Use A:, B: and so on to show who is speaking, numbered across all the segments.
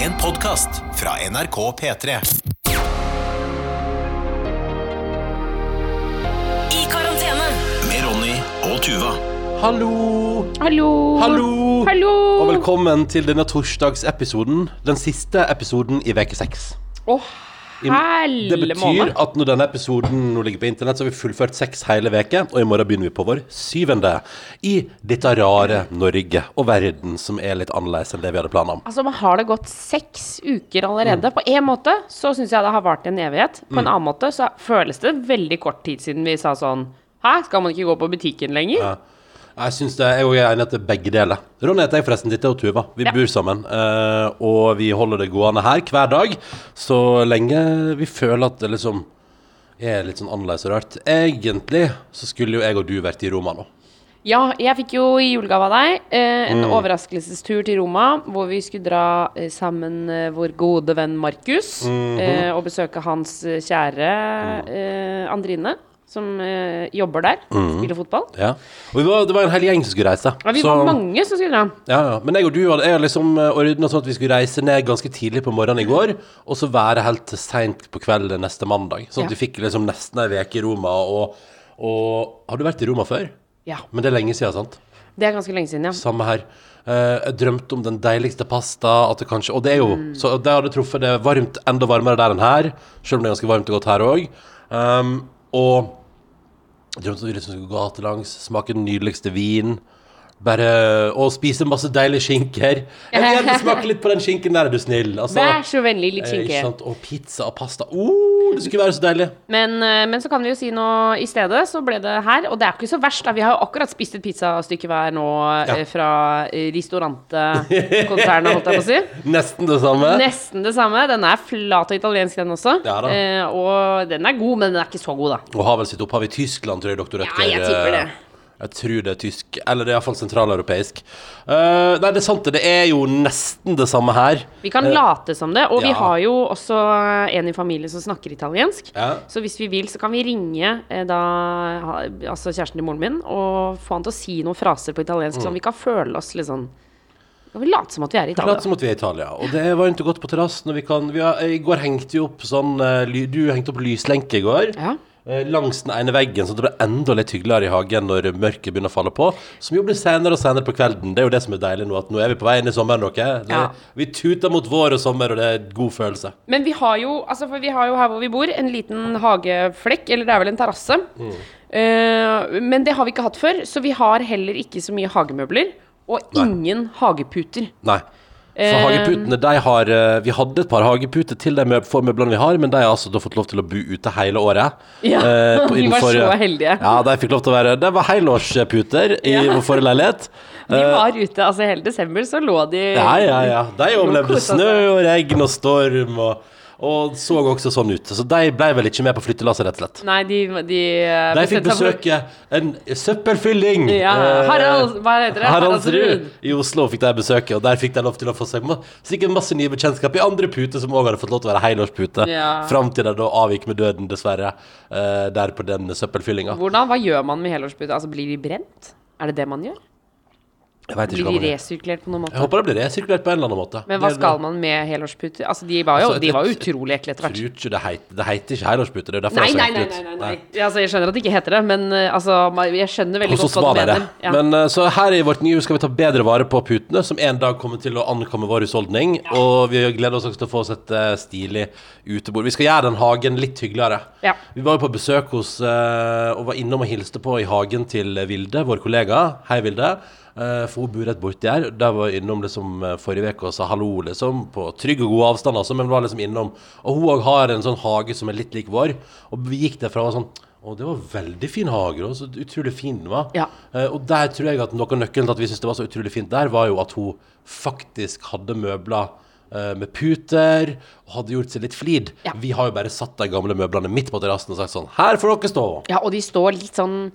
A: En podcast fra NRK P3.
B: I karantene.
A: Med Ronny og Tuva.
C: Hallo!
D: Hallo!
C: Hallo!
D: Hallo!
C: Og velkommen til denne torsdagsepisoden. Den siste episoden i veke seks.
D: Å,
C: I- Det
D: helle
C: betyr
D: måned.
C: at når denne episoden nå ligger på internett, så har vi fullført seks hele veke, og i morgen begynner vi på vår syvende i dette rare Norge og verden som er litt annerledes enn det vi hadde planer om.
D: Altså, man har det gått seks uker
C: Mm.
D: allerede. På en måte så syns jeg det har vart i en evighet. På en annen måte så føles det veldig kort tid siden vi sa sånn Hæ, skal man ikke gå på butikken lenger?
C: Jeg synes det, jeg er enig i at det er begge deler. Ronny heter jeg forresten, dette er jo Tuva. Vi
D: Ja.
C: bor sammen, eh, og vi holder det gående her hver dag, så lenge vi føler at det liksom er litt sånn annerledes og rart. Egentlig så skulle jo jeg og du vært i Roma nå.
D: Ja, jeg fikk jo i julegave av deg eh,
C: Mm.
D: en overraskelsestur til Roma, hvor vi skulle dra eh, sammen eh, vår gode venn Markus
C: Mhm.
D: eh, og besøke hans eh, kjære
C: Mm.
D: eh, Andrine, som eh, jobber der,
C: Mm.
D: spiller fotball.
C: Ja. Og vi var, det var en hel gjeng som skulle reise.
D: Ja, vi
C: så-
D: var mange som skulle dra.
C: Ja, ja. Men jeg og du hadde jeg hadde liksom eh, ordnet sånn at vi skulle reise ned ganske tidlig på morgenen i går, og så være helt til seint på kvelden neste mandag. Sånn at
D: Ja.
C: vi fikk liksom nesten ei uke i Roma, og, og Har du vært i Roma før?
D: Ja.
C: Men det er lenge siden, sant?
D: Det er ganske lenge siden, ja.
C: Samme her. Eh, jeg drømte om den deiligste pasta at det kanskje, Og det er jo
D: Mm.
C: så det hadde truffet det er varmt, enda varmere der enn her, selv om det er ganske varmt og godt her òg. og jeg drømte om at vi liksom skulle gå gatelangs, smake den nydeligste vin. Bare, og spise masse deilige skinker. Jeg vil gjerne smake litt på den skinken der, er du snill. Altså,
D: Vær så vennlig, litt
C: eh,
D: skinke.
C: ikke sant? Og pizza og pasta. Oh, det skulle være så deilig.
D: Men, eh, men så kan vi jo si noe i stedet, så ble det her. Og det er jo ikke så verst, da. Vi har jo akkurat spist et pizzastykke hver nå
C: Ja.
D: eh, fra eh, restaurantekonsernet, holdt jeg på å si.
C: Nesten det samme.
D: Nesten det samme. Den er flat og italiensk, den også.
C: Ja da.
D: Eh, og den er god, men den er ikke så god, da.
C: Og har vel sitt opphav i Tyskland, tror jeg, doktor Rødtger.
D: jeg tipper det.
C: Jeg tror det er tysk, eller det er iallfall sentraleuropeisk. Eh, nei, det er sant, det. Det er jo nesten det samme her.
D: Vi kan late som det. Og
C: Eh, ja.
D: vi har jo også en i familien som snakker italiensk.
C: Ja.
D: Så hvis vi vil, så kan vi ringe eh, da, ha- altså kjæresten til moren min og få han til å si noen fraser på
C: Mm.
D: italiensk, sånn vi kan føle oss litt sånn Kan vi late som at vi er i
C: Klart
D: Italia?
C: som at vi er i Italia. Og det er varmt og godt på terrassen. og vi kan- vi har- I går hengte vi opp sånn eh, ly- Du hengte opp lyslenke i går.
D: Ja.
C: eh, Langs den ene veggen, så det ble enda litt hyggeligere i hagen når mørket begynner å falle på. Som jo blir senere og senere på kvelden. Det er jo det som er deilig nå, at nå er vi på vei inn i sommeren. dere. Det-
D: Ja.
C: Vi tuter mot vår og sommer, og det er en god følelse.
D: Men vi har jo, altså for vi har jo her hvor vi bor, en liten hageflekk, eller det er vel en terrasse.
C: Mm.
D: Eh, men det har vi ikke hatt før, så vi har heller ikke så mye hagemøbler. Og
C: Nei.
D: ingen hageputer.
C: Nei. For
D: Ehm.
C: hageputene, de har eh, Vi hadde et par hageputer til de møb- få møblene vi har, men de har altså da fått lov til å bo ute hele året.
D: Ja,
C: Eh,
D: vi var
C: innenfor-
D: så heldige.
C: Ja, de fikk lov til å være Det var helårsputer i
D: Ja.
C: vår forrige leilighet.
D: De var ute altså hele desember, så lå de
C: Eh, Ja, ja, ja. De overlevde
D: kosa seg.
C: snø og regn og storm og, og så også sånn ut. Så de ble vel ikke med på flyttelasset, rett og slett.
D: Nei, de, de eh,
C: De fikk
D: bestemte seg for-
C: besøke en søppelfylling.
D: Ja,
C: eh,
D: Harald, hva heter det?
C: Haraldsrud i Oslo fikk de besøke, og der fikk de lov til å få seg ma- sikkert masse nye bekjentskap i andre puter som òg hadde fått lov til å være helårspute,
D: Ja.
C: fram til de da avgikk med døden, dessverre, eh, der på den søppelfyllinga.
D: Hvordan, Hva gjør man med helårsputer? Altså, blir de brent? Er det det man gjør?
C: Jeg vet ikke
D: Blir
C: hva
D: de
C: man gjør.
D: resirkulert på noen
C: Jeg
D: måte?
C: håper det blir resirkulert på en eller annen måte.
D: Men hva
C: Det-
D: skal man med helårsputer? Altså, de var jo,
C: Altså,
D: de var jo
C: jeg-
D: utrolig ekle
C: Jeg
D: etter hvert.
C: tror ikke det heter, det heter ikke helårspute, det er jo derfor
D: Nei,
C: det
D: nei,
C: er så
D: nei.
C: ekkelt.
D: nei, nei, nei. Altså, jeg skjønner at det ikke heter det, men eh, altså, ma- jeg skjønner veldig
C: Hos oss
D: godt
C: var
D: hva du
C: det det.
D: mener. Ja.
C: Men eh, så her i vårt nye hus skal vi ta bedre vare på putene, som en dag kommer til å ankomme vår husholdning. Og vi gleder oss også til å få oss et eh, stilig utebord. Vi skal gjøre den hagen litt hyggeligere.
D: Ja.
C: Vi var jo på besøk hos eh, og var innom og hilste på i hagen til Vilde, vår kollega. Hei, Vilde. Eh, for hun bor rett borti her. Der var jeg innom liksom eh, forrige uke og sa hallo, liksom. På trygg og god avstand, altså, men var liksom innom. Og hun òg har en sånn hage som er litt lik vår. Og vi gikk derfra og var sånn Å, det var veldig fin hage, og så utrolig fin den var.
D: Ja.
C: Eh, og der tror jeg at noe av nøkkelen til at vi syntes det var så utrolig fint der, var jo at hun faktisk hadde møbler eh, med puter, og hadde gjort seg litt flid.
D: Ja.
C: Vi har jo bare satt de gamle møblene midt på terrassen og sagt sånn Her får dere stå!
D: ja, og de står litt sånn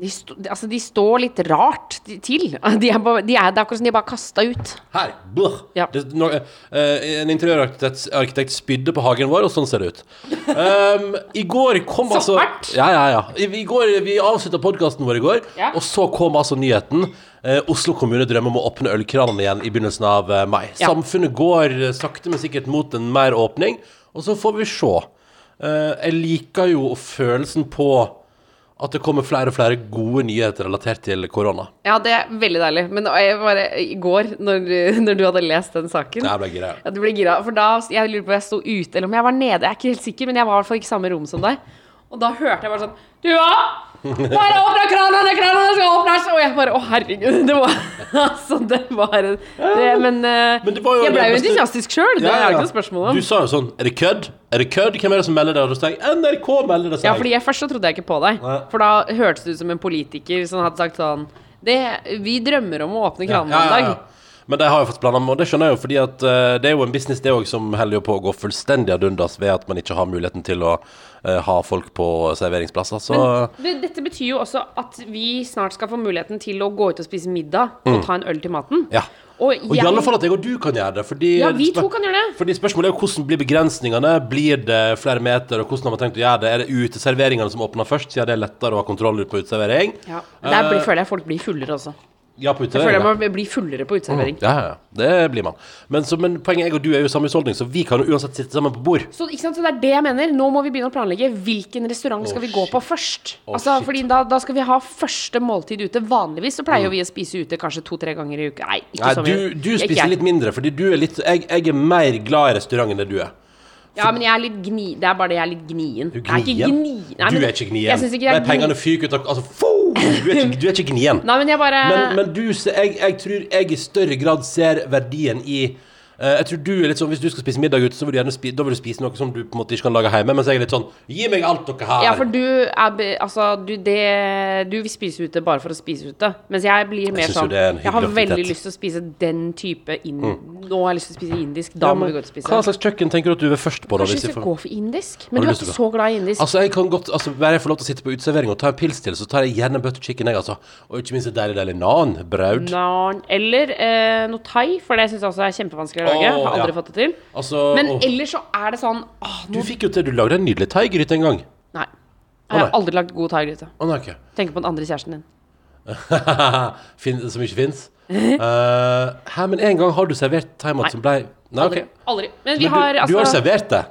D: De, sto, de- altså, de står litt rart de- til. De er bare, de er, det er akkurat som de er bare kasta ut.
C: Her! Blah.
D: Ja.
C: Det, nå, eh, en interiørarkitekt arkitekt spydde på hagen vår, og sånn ser det ut. Um, I går kom
D: Så
C: altså
D: hardt!
C: Ja, ja, ja. I, i går, vi avslutta podkasten vår i går,
D: Ja.
C: og så kom altså nyheten. Eh, Oslo kommune drømmer om å åpne ølkranene igjen i begynnelsen av eh, mai.
D: Ja.
C: Samfunnet går eh, sakte, men sikkert mot en mer åpning, og så får vi se. Eh, jeg liker jo følelsen på at det kommer flere og flere gode nyheter relatert til korona.
D: Ja, det er veldig deilig. Men jeg bare, i går, når, når du hadde lest den saken
C: Jeg ble gira.
D: Ja, du ble gira. For da, jeg lurer på om jeg sto ute, eller om jeg var nede. Jeg er ikke helt sikker, men jeg var i hvert fall ikke i samme rom som deg. Og da hørte jeg bare sånn Dua! Bare åpne kranen! Kranen skal åpnes! Og jeg bare Å, herregud. Det var Altså, det var en det, Men, eh,
C: Men det var jo
D: jeg ble jo
C: nærmest-
D: entusiastisk sjøl. Det
C: Ja, ja,
D: er det
C: ja.
D: ikke noe spørsmål om.
C: Du sa jo sånn Er det kødd? Er det kødd? Hvem er det som melder det? Og så sa jeg NRK melder det seg.
D: Ja, fordi jeg først så trodde jeg ikke på deg.
C: Nei.
D: For da hørtes du ut som en politiker som hadde sagt sånn det, Vi drømmer om å åpne kranen
C: Ja, ja, ja.
D: en dag.
C: Men de har jo fått planer om, og det skjønner jeg jo, fordi at eh, det er jo en business det òg som holder jo på å gå fullstendig ad undas ved at man ikke har muligheten til å eh, ha folk på serveringsplasser. Så
D: Det, dette betyr jo også at vi snart skal få muligheten til å gå ut og spise middag og ta en øl til maten.
C: Mm. ja.
D: Og,
C: Og i
D: jeg-
C: alle fall at jeg og du kan gjøre det. Fordi
D: Ja, vi to kan gjøre det.
C: Fordi spørsmålet er jo hvordan blir begrensningene? Blir det flere meter, og hvordan har man tenkt å gjøre det? Er det uteserveringene som åpner først, siden det er lettere å ha kontroll på uteservering?
D: ja. Der blir,
C: Eh,
D: føler jeg folk blir fullere også.
C: Ja, på
D: Jeg
C: uteservering.
D: føler
C: ja. Mm.
D: jeg må bli fullere på uteservering.
C: Ja, ja, ja. det blir man. Men, så, men poenget jeg og du er jo i samme husholdning, så vi kan jo uansett sitte sammen på bord.
D: Så, ikke sant? så det er det jeg mener. Nå må vi begynne å planlegge hvilken restaurant skal vi gå på først.
C: Å,
D: altså,
C: shit.
D: fordi da, da skal vi ha første måltid ute. Vanligvis så pleier jo vi å spise ute kanskje to-tre ganger i uka. Nei, ikke
C: Mm. Nei,
D: så
C: du,
D: mye.
C: du
D: Ikke
C: spiser
D: jeg.
C: litt mindre, fordi du er litt Jeg, jeg er mer glad i restaurant enn det du er.
D: Ja, men jeg er litt gni... Det er bare det jeg er litt gnien.
C: Du er
D: Jeg ikke
C: gnien.
D: gni- Nei, men-
C: du er ikke gnien.
D: Jeg synes ikke jeg
C: Nei,
D: er
C: pengene
D: gnien.
C: fyker ut av Altså, fo! Du er ikke, du er ikke gnien.
D: Nei, men jeg bare
C: Men, men du, se- jeg, jeg tror jeg i større grad ser verdien i eh, jeg tror du er litt sånn, Hvis du skal spise middag ute, så vil du gjerne spi, da vil du spise noe som du på en måte ikke kan lage hjemme. Mens jeg er litt sånn Gi meg alt dere har.
D: Ja, for du er be- Altså, du, det, du vil spise ute bare for å spise ute. Mens jeg blir mer
C: synes jo
D: sånn
C: det er en
D: Jeg har
C: hyggelig
D: veldig
C: aktivitet. Mm.
D: lyst til å spise den type inn... Nå har jeg lyst til å spise indisk. Da
C: Ja,
D: må
C: men
D: vi gå ut og spise.
C: Hva slags kjøkken tenker du at du er først på? da?
D: Kanskje
C: hvis
D: vi
C: jeg
D: skal
C: får-
D: gå for indisk?
C: Har
D: Men
C: du
D: du er
C: lyst til
D: ikke
C: å
D: så glad i indisk.
C: Altså, jeg kan godt, altså, Bare jeg får lov til å sitte på uteservering og ta en pils til, så tar jeg gjerne butter chicken, jeg, altså. Og ikke minst et deilig, deilig nan. Braud.
D: Nan, eller eh, noe thai, for det syns jeg også er kjempevanskelig å lage.
C: Åh,
D: har aldri
C: ja.
D: fått det til.
C: Altså,
D: Men
C: åh,
D: ellers så er det sånn åh,
C: du
D: nå,
C: fikk jo til Du lagde en nydelig thaigryte en gang.
D: Nei. Jeg har
C: nei.
D: aldri lagd god thaigryte.
C: Å, nei, ok.
D: Tenker på den andre kjæresten din.
C: Fin, som ikke fins. Uh, hæ, men en gang har du servert thaimat som blei Nei, OK.
D: Aldri. aldri. Men vi
C: Men du,
D: har
C: du
D: altså
C: har servert det?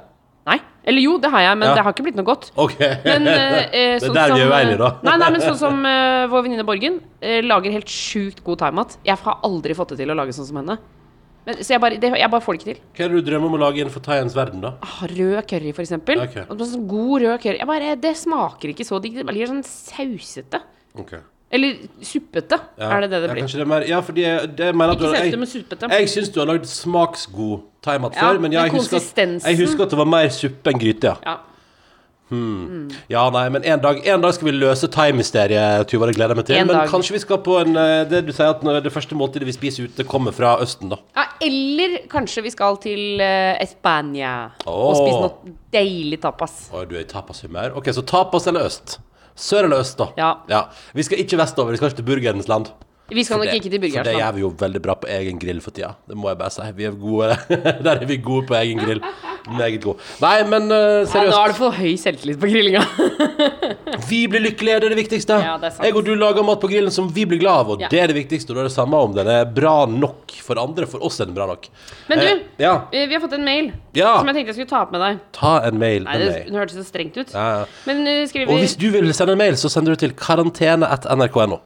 D: Nei. Eller jo, det har jeg, men
C: Ja.
D: det har ikke blitt noe godt.
C: OK.
D: Men, eh, eh,
C: det
D: sånn
C: er der vi er
D: som, eh,
C: uenige, da.
D: Nei, nei, men sånn som eh, vår venninne Borgen eh, lager helt sjukt god thaimat. Jeg har aldri fått det til å lage sånn som henne. Men, så jeg bare, det, jeg bare får det ikke til.
C: Hva er det du drømmer om å lage innenfor thaiens verden, da?
D: Ah, Rød curry, for eksempel.
C: Ok.
D: Og Sånn god rød curry. Jeg bare, det smaker ikke så digg. Det blir sånn sausete.
C: Ok.
D: Eller suppete,
C: Ja.
D: er det det det
C: Ja,
D: blir.
C: kanskje det er mer, ja, fordi jeg, det jeg mener at
D: Ikke
C: du-
D: sausete,
C: jeg-
D: men suppete.
C: Jeg syns du har lagd smaksgod thaimat
D: Ja,
C: før, men ja,
D: men
C: jeg, husker at,
D: konsistensen-
C: jeg husker at det var mer suppe enn gryte, ja.
D: Ja.
C: Ja, nei, men en dag, en dag skal vi løse thaimysteriet, Tuva. Det gleder jeg meg til.
D: En
C: Men
D: dag.
C: kanskje vi skal på en eh, Det du sier at når det første måltidet vi spiser ute, kommer fra Østen, da.
D: ja, eller kanskje vi skal til uh, Spania og
C: Åh.
D: spise noe deilig tapas.
C: Å, du er i tapashumør. OK, så tapas eller øst? Sør eller øst, da?
D: Ja.
C: Vi skal ikke vestover. Vi skal ikke til burgerens land.
D: Vi skal
C: For
D: nok
C: det-
D: ikke til
C: For det
D: burgeren.
C: gjør vi jo veldig bra på egen grill for tida. Det må jeg bare si. Vi er gode. Der er vi gode på egen grill. Meget gode. Nei, men eh,
D: Ja, nå er
C: seriøst.
D: det for høy selvtillit på grillinga.
C: Vi blir lykkelige, det er det viktigste.
D: Ja, det er sant.
C: jeg og du lager mat på grillen som vi blir glad av, og
D: Ja.
C: det er det viktigste. Og da er det samme om den er bra nok for andre. For oss er den bra nok.
D: Men du,
C: Eh, ja.
D: eh, vi har fått en mail
C: Ja.
D: som jeg tenkte jeg skulle ta opp med deg.
C: Ta en mail
D: Nei,
C: med
D: det,
C: meg.
D: det hørtes så strengt ut.
C: Ja, ja.
D: Men eh, skriver
C: Og hvis du vil sende en mail, så sender du til karantene.nrk.no.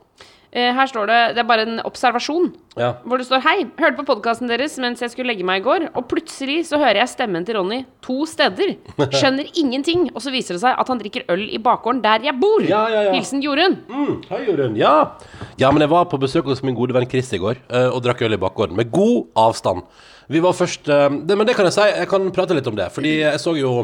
D: eh, Her står det Det er bare en observasjon.
C: Ja.
D: Hvor det står Hei, hørte på podkasten deres mens jeg skulle legge meg i går, og plutselig så hører jeg stemmen til Ronny to steder. Skjønner ingenting, og så viser det seg at han drikker øl i bakgården der jeg bor.
C: Ja, ja, ja.
D: Hilsen Jorunn.
C: Mm, hei, Jorunn. Ja. ja, men jeg var på besøk hos min gode venn Chris i går eh, og drakk øl i bakgården med god avstand. Vi var først eh, det, Men det kan jeg si, jeg kan prate litt om det. Fordi jeg så jo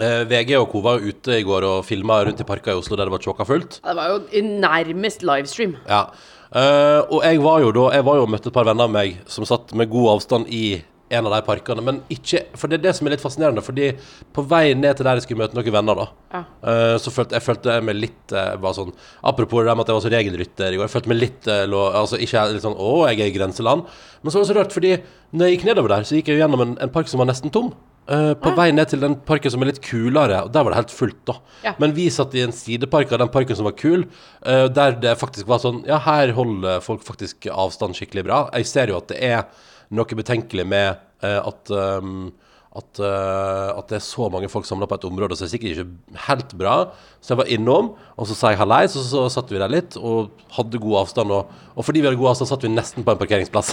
C: eh, VG og co. var jo ute i går og filma rundt i parker i Oslo der det var tjåka fullt.
D: Det var jo nærmest livestream.
C: Ja. Eh, og jeg var jo da Jeg var jo og møtte et par venner av meg som satt med god avstand i en av de parkene. Men ikke For det er det som er litt fascinerende, fordi på vei ned til der jeg skulle møte noen venner, da,
D: Ja.
C: eh, så følte jeg følte meg litt eh, var sånn, Apropos det der med at jeg var så regelrytter i går, jeg følte meg litt eh, lå, altså ikke litt sånn Å, jeg er i grenseland. Men så var det så rart, fordi når jeg gikk nedover der, så gikk jeg jo gjennom en, en park som var nesten tom. Eh, på vei ned til den parken som er litt kulere, og der var det helt fullt, da.
D: Ja.
C: Men vi satt i en sidepark av den parken som var kul, eh, der det faktisk var sånn Ja, her holder folk faktisk avstand skikkelig bra. Jeg ser jo at det er noe betenkelig med eh, at ehm, at, eh, at det er så mange folk samla på et område, så det er sikkert ikke helt bra. Så jeg var innom, og så sa jeg hallais, og så, så satt vi der litt og hadde god avstand. Og, og fordi vi hadde god avstand, satt vi nesten på en parkeringsplass.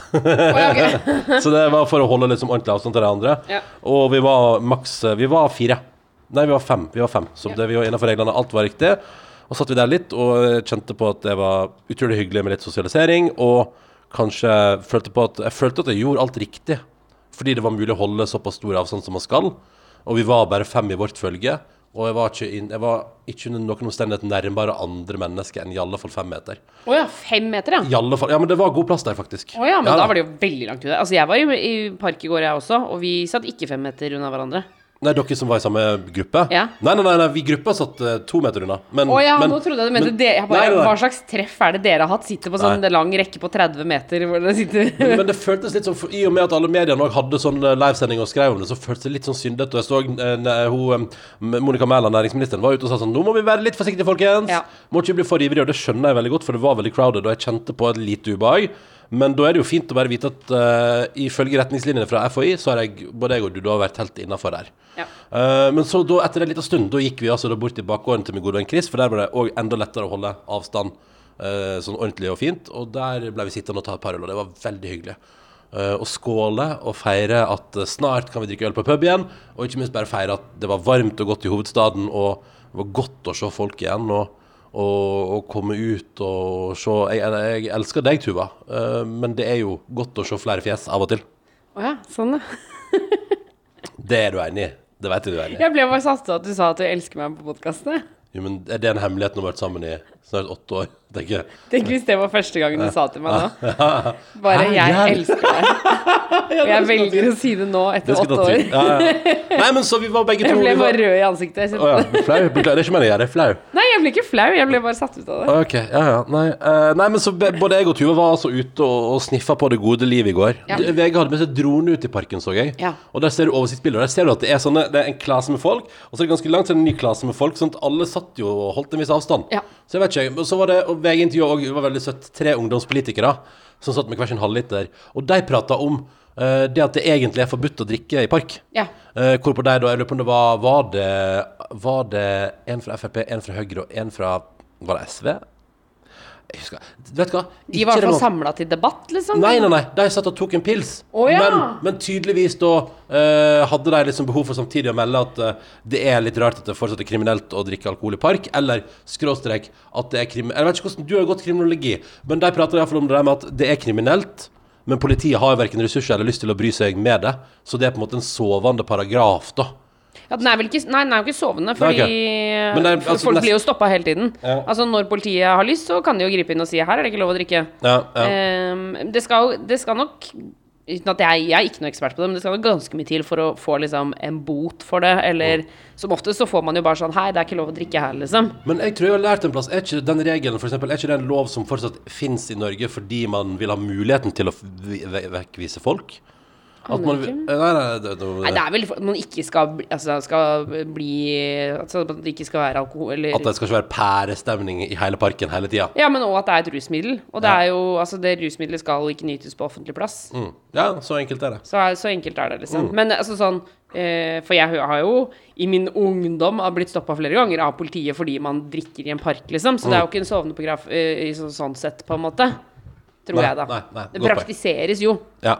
C: Så det var for å holde liksom ordentlig avstand til de andre.
D: Ja.
C: Og vi var maks Vi var fire. Nei, vi var fem. Vi var fem. Så det vi var innenfor reglene. Alt var riktig. Og satt vi der litt og eh, kjente på at det var utrolig hyggelig med litt sosialisering. Og kanskje følte på at Jeg følte at jeg gjorde alt riktig. Fordi det var mulig å holde såpass stor avstand som man skal. Og vi var bare fem i vårt følge. Og jeg var ikke, inn, jeg var ikke under noen omstendighet nærmere andre mennesker enn i alle fall fem meter.
D: Å ja, fem meter, ja.
C: I alle fall, ja, men det var god plass der, faktisk.
D: Å ja, men
C: Ja,
D: da
C: da.
D: var det jo veldig langt ute. Altså, jeg var jo i park i går, jeg også, og vi satt ikke fem meter unna hverandre.
C: Nei, dere som var i samme gruppe?
D: Ja.
C: Nei, nei, nei, nei vi i gruppa satt eh, to meter unna. Men,
D: Å ja,
C: men-
D: nå trodde jeg du mente
C: men-
D: det. Jeg bare,
C: Nei, nei, nei.
D: Hva slags treff er det dere har hatt? Sitter på sånn
C: Nei. Mm.
D: lang rekke på 30 meter hvor dere sitter
C: Men det føltes litt som, for I og med at alle mediene også hadde sånn eh, livesending og skrev om det, så føltes det litt sånn syndete. Og jeg så eh, ne- hun, eh, Monica Mæland, næringsministeren, var ute og sa sånn Nå må vi være litt forsiktige, folkens!
D: Ja.
C: Må ikke bli for ivrige. Og det skjønner jeg veldig godt, for det var veldig crowded, og jeg kjente på et lite ubehag. Men da er det jo fint å bare vite at eh, ifølge retningslinjene fra FHI, så har jeg, både jeg og du da vært helt innafor her.
D: Ja.
C: Eh, men så da, etter en liten stund, da gikk vi altså da bort til bakgården til min gode venn Chris, for der var det òg enda lettere å holde avstand eh, sånn ordentlig og fint. Og der ble vi sittende og ta et par øl, og det var veldig hyggelig. Eh, Å skåle og feire at eh, snart kan vi drikke øl på pub igjen, og ikke minst bare feire at det var varmt og godt i hovedstaden, og det var godt å se folk igjen. og og, og komme ut og se Jeg, jeg elsker deg, Tuva, eh, men det er jo godt å se flere fjes av og til.
D: Å ja, sånn, ja.
C: Det er du enig i? Det vet jeg du er enig i.
D: Jeg ble bare satt ut av at du sa at du elsker meg på podkastene.
C: Jo, men Er det en hemmelighet når vi har vært sammen i snart åtte år? tenker jeg.
D: Tenk hvis det var første gangen du sa til meg nå. Bare
C: Hæ,
D: 'jeg
C: jævlig.
D: elsker deg'. Og jeg velger å si det nå, etter
C: Det skulle tatt
D: åtte år.
C: tid. Ja, ja. Nei, men så vi var begge to
D: Jeg ble
C: vi var-
D: bare rød i ansiktet. Jeg
C: Å
D: kjente-
C: ja, flau? Beklager, det er ikke meningen å gjøre det. Flau.
D: Nei, jeg ble ikke flau, jeg ble bare satt ut av det.
C: Ok, ja, ja. Nei, eh, nei men så be- både jeg og Tuva var altså ute og, og sniffa på det gode livet i går.
D: Ja.
C: Det- VG hadde med seg drone ut i parken, så jeg.
D: Ja.
C: Og der ser du oversiktsbilder. Der ser du at det er, sånne, det er en klasse med folk, og så er det ganske langt til en ny klasse med folk, sånn at alle satt jo og holdt en viss avstand.
D: Ja.
C: Så jeg vet ikke, jeg. Men så var det, og VG intervjuet også, det var veldig søtt, tre ungdomspolitikere som satt med hver sin halvliter, og de pratet om eh, det at det egentlig er forbudt å drikke i park.
D: Ja.
C: Eh, hvorpå de da, jeg lurer på om det var, var det, var det en fra FRP, en fra Høyre og en fra, var det SV? Jeg husker, vet du hva?
D: De var i hvert fall
C: sammen.
D: samla til debatt, liksom.
C: Nei, nei, nei, de satt og tok en pils.
D: Å, ja.
C: men, men tydeligvis da eh, hadde de liksom behov for samtidig å melde at eh, det er litt rart at det fortsatt er kriminelt å drikke alkohol i park, eller skråstrek at det er krim... Jeg vet ikke hvordan du har gått kriminologi, men de prater iallfall om det der med at det er kriminelt. Men politiet har verken ressurser eller lyst til å bry seg med det, så det er på en måte en sovende paragraf, da.
D: Ja, den er vel ikke Nei, den er jo ikke sovende, fordi eh,
C: ok. Men det er-
D: for-
C: altså,
D: folk
C: nest-
D: blir jo stoppa hele tiden.
C: Ja.
D: Altså, når politiet har lyst, så kan de jo gripe inn og si 'her er det ikke lov å drikke'.
C: Ja, ja.
D: Ehm, det, skal, jo- det skal nok Uten at jeg, jeg er ikke noe ekspert på det, men det skal jo ganske mye til for å få liksom, en bot for det. Eller som oftest så får man jo bare sånn 'hei, det er ikke lov å drikke her', liksom.
C: Men jeg tror jeg har lært en plass Er ikke den regelen for eksempel Er ikke det en lov som fortsatt finnes i Norge Fordi man vil ha muligheten til å v- ve- vekkvise folk? At man vil- Nei, nei, det, det,
D: Nei, det er vel for at man ikke skal, bli- altså, skal bli altså, At det ikke skal være alkohol eller
C: At det skal ikke være pærestemning i hele parken hele tiden
D: Ja, men òg at det er et rusmiddel. Og det er jo Altså, det rusmiddelet skal jo ikke nytes på offentlig plass.
C: mm. Ja, så enkelt er det
D: Så, er- så enkelt er det,
C: Mm.
D: liksom. Men altså sånn eh, For jeg har jo i min ungdom har blitt stoppa flere ganger av politiet fordi man drikker i en park, liksom. Så det er
C: Mm.
D: jo ikke en sovende paragraf eh, i sånn, sånn sett, på en måte. Tror
C: Nei,
D: jeg, da.
C: nei, nei,
D: det
C: godt poeng.
D: praktiseres jo.
C: Ja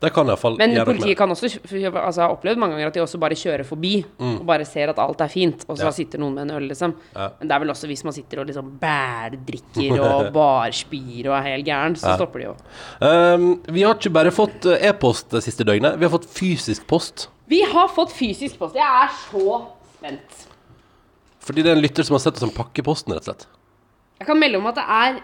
C: Det kan i hvert fall
D: Men
C: gjøre noe med.
D: politiet kan også f- altså, Jeg har opplevd mange ganger at de også bare kjører forbi og bare ser at alt er fint, og så
C: Mm. Ja.
D: sitter noen med en øl, liksom.
C: Ja.
D: Men det er vel også hvis man sitter og liksom bældrikker og barspyr og er helt gæren, så stopper de jo.
C: Ehm, Vi har ikke bare fått eh, e-post det siste døgnet Vi har fått fysisk post
D: Vi har fått fysisk post. Jeg er så spent.
C: Fordi det er en lytter som har sett det som pakkeposten rett og slett
D: Jeg kan melde om at det er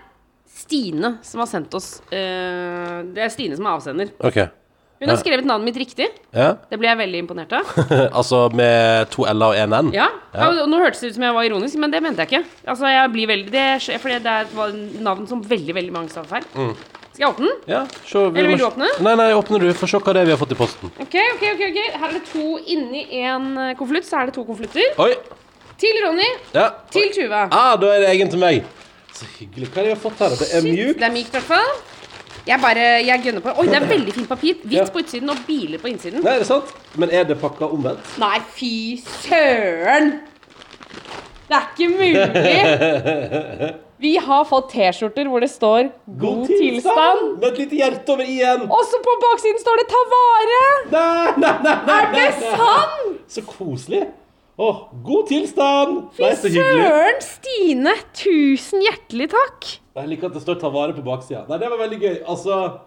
D: Stine som har sendt oss eh, Det er Stine som er avsender.
C: Ok
D: Hun Hun har skrevet navnet mitt riktig.
C: Ja.
D: Det ble jeg veldig imponert av.
C: altså med to L-er og en N.
D: Ja, og Nå hørtes det ut som jeg var ironisk, men det mente jeg ikke. Altså, jeg blir veldig Det, skje- fordi det er et val- navn som veldig veldig mange staver feil.
C: Mm.
D: Skal jeg åpne den?
C: Ja, se,
D: Eller vil du åpne?
C: Nei, nei, åpner du. Få se hva det er vi har fått i posten.
D: Ok, ok, ok, ok Her er det to inni en eh, konvolutt. Så er det to konvolutter.
C: Oi!
D: Til Ronny.
C: Ja.
D: Til Tuva.
C: Ah, da er det egen til meg. Så hyggelig. Hva er det jeg har fått her? da? Det er
D: Shit,
C: mjukt.
D: Det er mykt, i hvert fall. Jeg bare Jeg gønner på. Oi, det er veldig fint papir. Hvitt
C: Ja.
D: på utsiden og biler på innsiden.
C: Nei, er det sant? Men er det pakka omvendt?
D: Nei, fy søren! Det er ikke mulig! Vi har fått T-skjorter hvor det står 'God tilstand'.
C: Med et lite hjerte over i-en.
D: Også på baksiden står det 'Ta vare'!
C: Nei, nei, nei, nei,
D: Er det
C: nei.
D: sant?!
C: Så koselig. Åh, god tilstand!
D: Fy
C: Nei, så hyggelig.
D: søren, Stine! Tusen hjertelig takk.
C: Jeg liker at det står 'ta vare' på baksida. Nei, det var veldig gøy. Altså,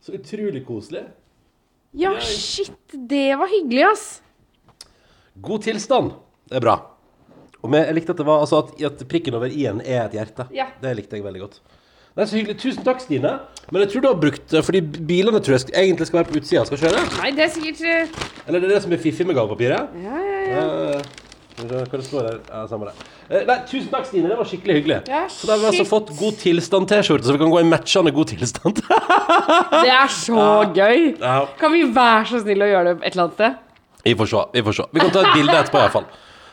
C: så utrolig koselig.
D: Ja, shit, det var hyggelig, ass.
C: God tilstand. Det er bra. Og men jeg likte at det var altså at, at prikken over i-en er et hjerte.
D: Ja.
C: Det likte jeg veldig godt. Det er så hyggelig. Tusen takk, Stine. Men jeg tror du har brukt eh, Fordi bilene tror jeg sk- egentlig skal være på utsida. Skal kjøre.
D: Nei, det er sikkert eh,
C: Eller det er det som er fiffig med gavepapiret.
D: Ja, ja, ja.
C: Eh, Skal vi se hva det står der. Ja, samme det. Eh, Nei, tusen takk, Stine. Det var skikkelig hyggelig.
D: Ja,
C: så da har vi altså
D: shit.
C: fått god tilstand-T-skjorte, så vi kan gå i matchende god tilstand.
D: Det er så gøy!
C: Ja.
D: Kan vi være så snill å gjøre det et eller annet sted?
C: vi får se. Vi får se. Vi kan ta et bilde etterpå, iallfall.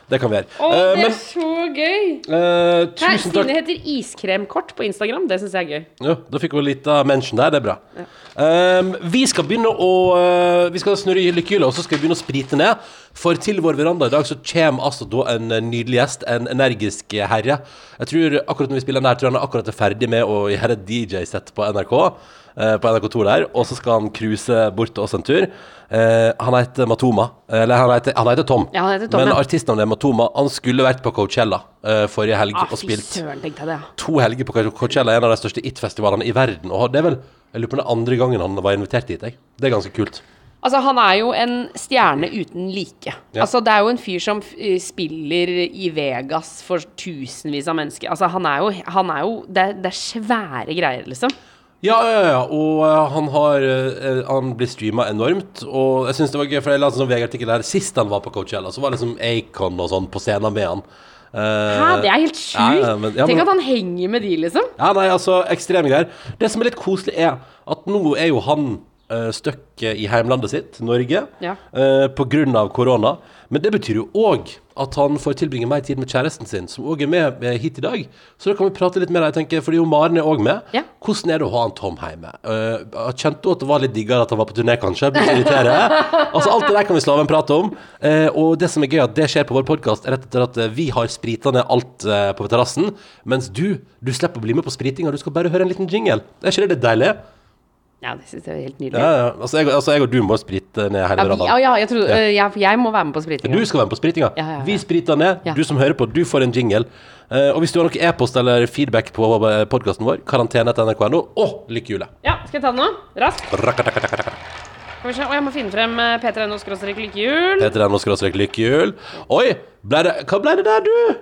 C: Det kan vi gjøre.
D: Å,
C: Eh,
D: det
C: men
D: er så gøy!
C: eh,
D: Nei,
C: tusen takk.
D: Stine heter Iskremkort på Instagram. Det syns jeg er gøy.
C: Ja, da fikk hun litt av mention der, det er bra. Ehm, vi skal begynne å eh, Vi skal snurre i lykkehjulet, og så skal vi begynne å sprite ned. For til vår veranda i dag så kommer altså da en eh, nydelig gjest, en energisk herre. Jeg tror akkurat når vi spiller den her, tror jeg han er akkurat er ferdig med å gjøre et DJ-sett på NRK. eh, på NRK2 der, og så skal han cruise bort til oss en tur. Eh, han heter Matoma. Eller han heter, han heter Tom.
D: Ja, han heter Tom,
C: Men
D: ja.
C: artistnavnet er Matoma. Han skulle vært på Coachella eh, forrige helg
D: Ah,
C: og
D: fy
C: spilt
D: søren, tenkte jeg det. ja.
C: to helger på Coachella, en av de største It-festivalene i verden. Og det er vel jeg lurer på den andre gangen han var invitert dit. Jeg. Det er ganske kult.
D: Altså, han er jo en stjerne uten like.
C: Ja.
D: Altså, det er jo en fyr som eh, spiller i Vegas for tusenvis av mennesker. Altså, han er jo, han er jo det, er- det er svære greier, liksom.
C: Ja, ja, ja. Og eh, han, har, eh, han blir streama enormt. Og jeg syns det var gøy, for jeg la en sånn VG-artikkel der sist han var på Coachella, så var liksom Acon og sånn på scenen med han. Eh,
D: Hæ, det er helt sjukt!
C: ja, ja, men- ja, men-
D: Tenk at han henger med de, liksom.
C: Ja, nei, altså, ekstreme greier. Det som er litt koselig, er at nå er jo han uh, støkk i heimlandet sitt, Norge,
D: Ja.
C: eh, på grunn av korona. Men det betyr jo òg at han får tilbringe mer tid med kjæresten sin, som òg er med eh, hit i dag. Så da kan vi prate litt med deg, tenker jeg, fordi jo Maren er òg med.
D: Ja.
C: Hvordan er det å ha han Tom hjemme? Eh, kjente du at det var litt diggere at han var på turné, kanskje? Blir så irriterende. altså, alt det der kan vi slave en prat om. Eh, og det som er gøy, at det skjer på vår podkast, er rett og slett at eh, vi har sprita ned alt eh, på terrassen, mens du du slipper å bli med på spritinga, du skal bare høre en liten jingle. Er ikke det litt deilig?
D: Ja, det syns jeg er helt
C: Ja,
D: nydelig.
C: ja. Altså, jeg, altså, jeg og du må sprite ned hele
D: Ja, vi, ja,
C: verandaen.
D: ja, jeg, trodde, eh, ja, for jeg må være med på spritinga.
C: Du skal være med på spritinga.
D: Ja, ja, ja.
C: Vi spriter ned.
D: Ja.
C: Du som hører på, du får en jingle. Eh, og hvis du har noe e-post eller feedback på podkasten vår, karantene.nrk.no, og lykkehjulet.
D: Ja, skal jeg ta den nå? Raskt.
C: Rakatakatakata.
D: Skal vi se. Å, jeg må finne frem eh, P3NO skråstrek lykkehjul.
C: Heter den nå skråstrek lykkehjul. Oi! Ble det, hva ble det der, du?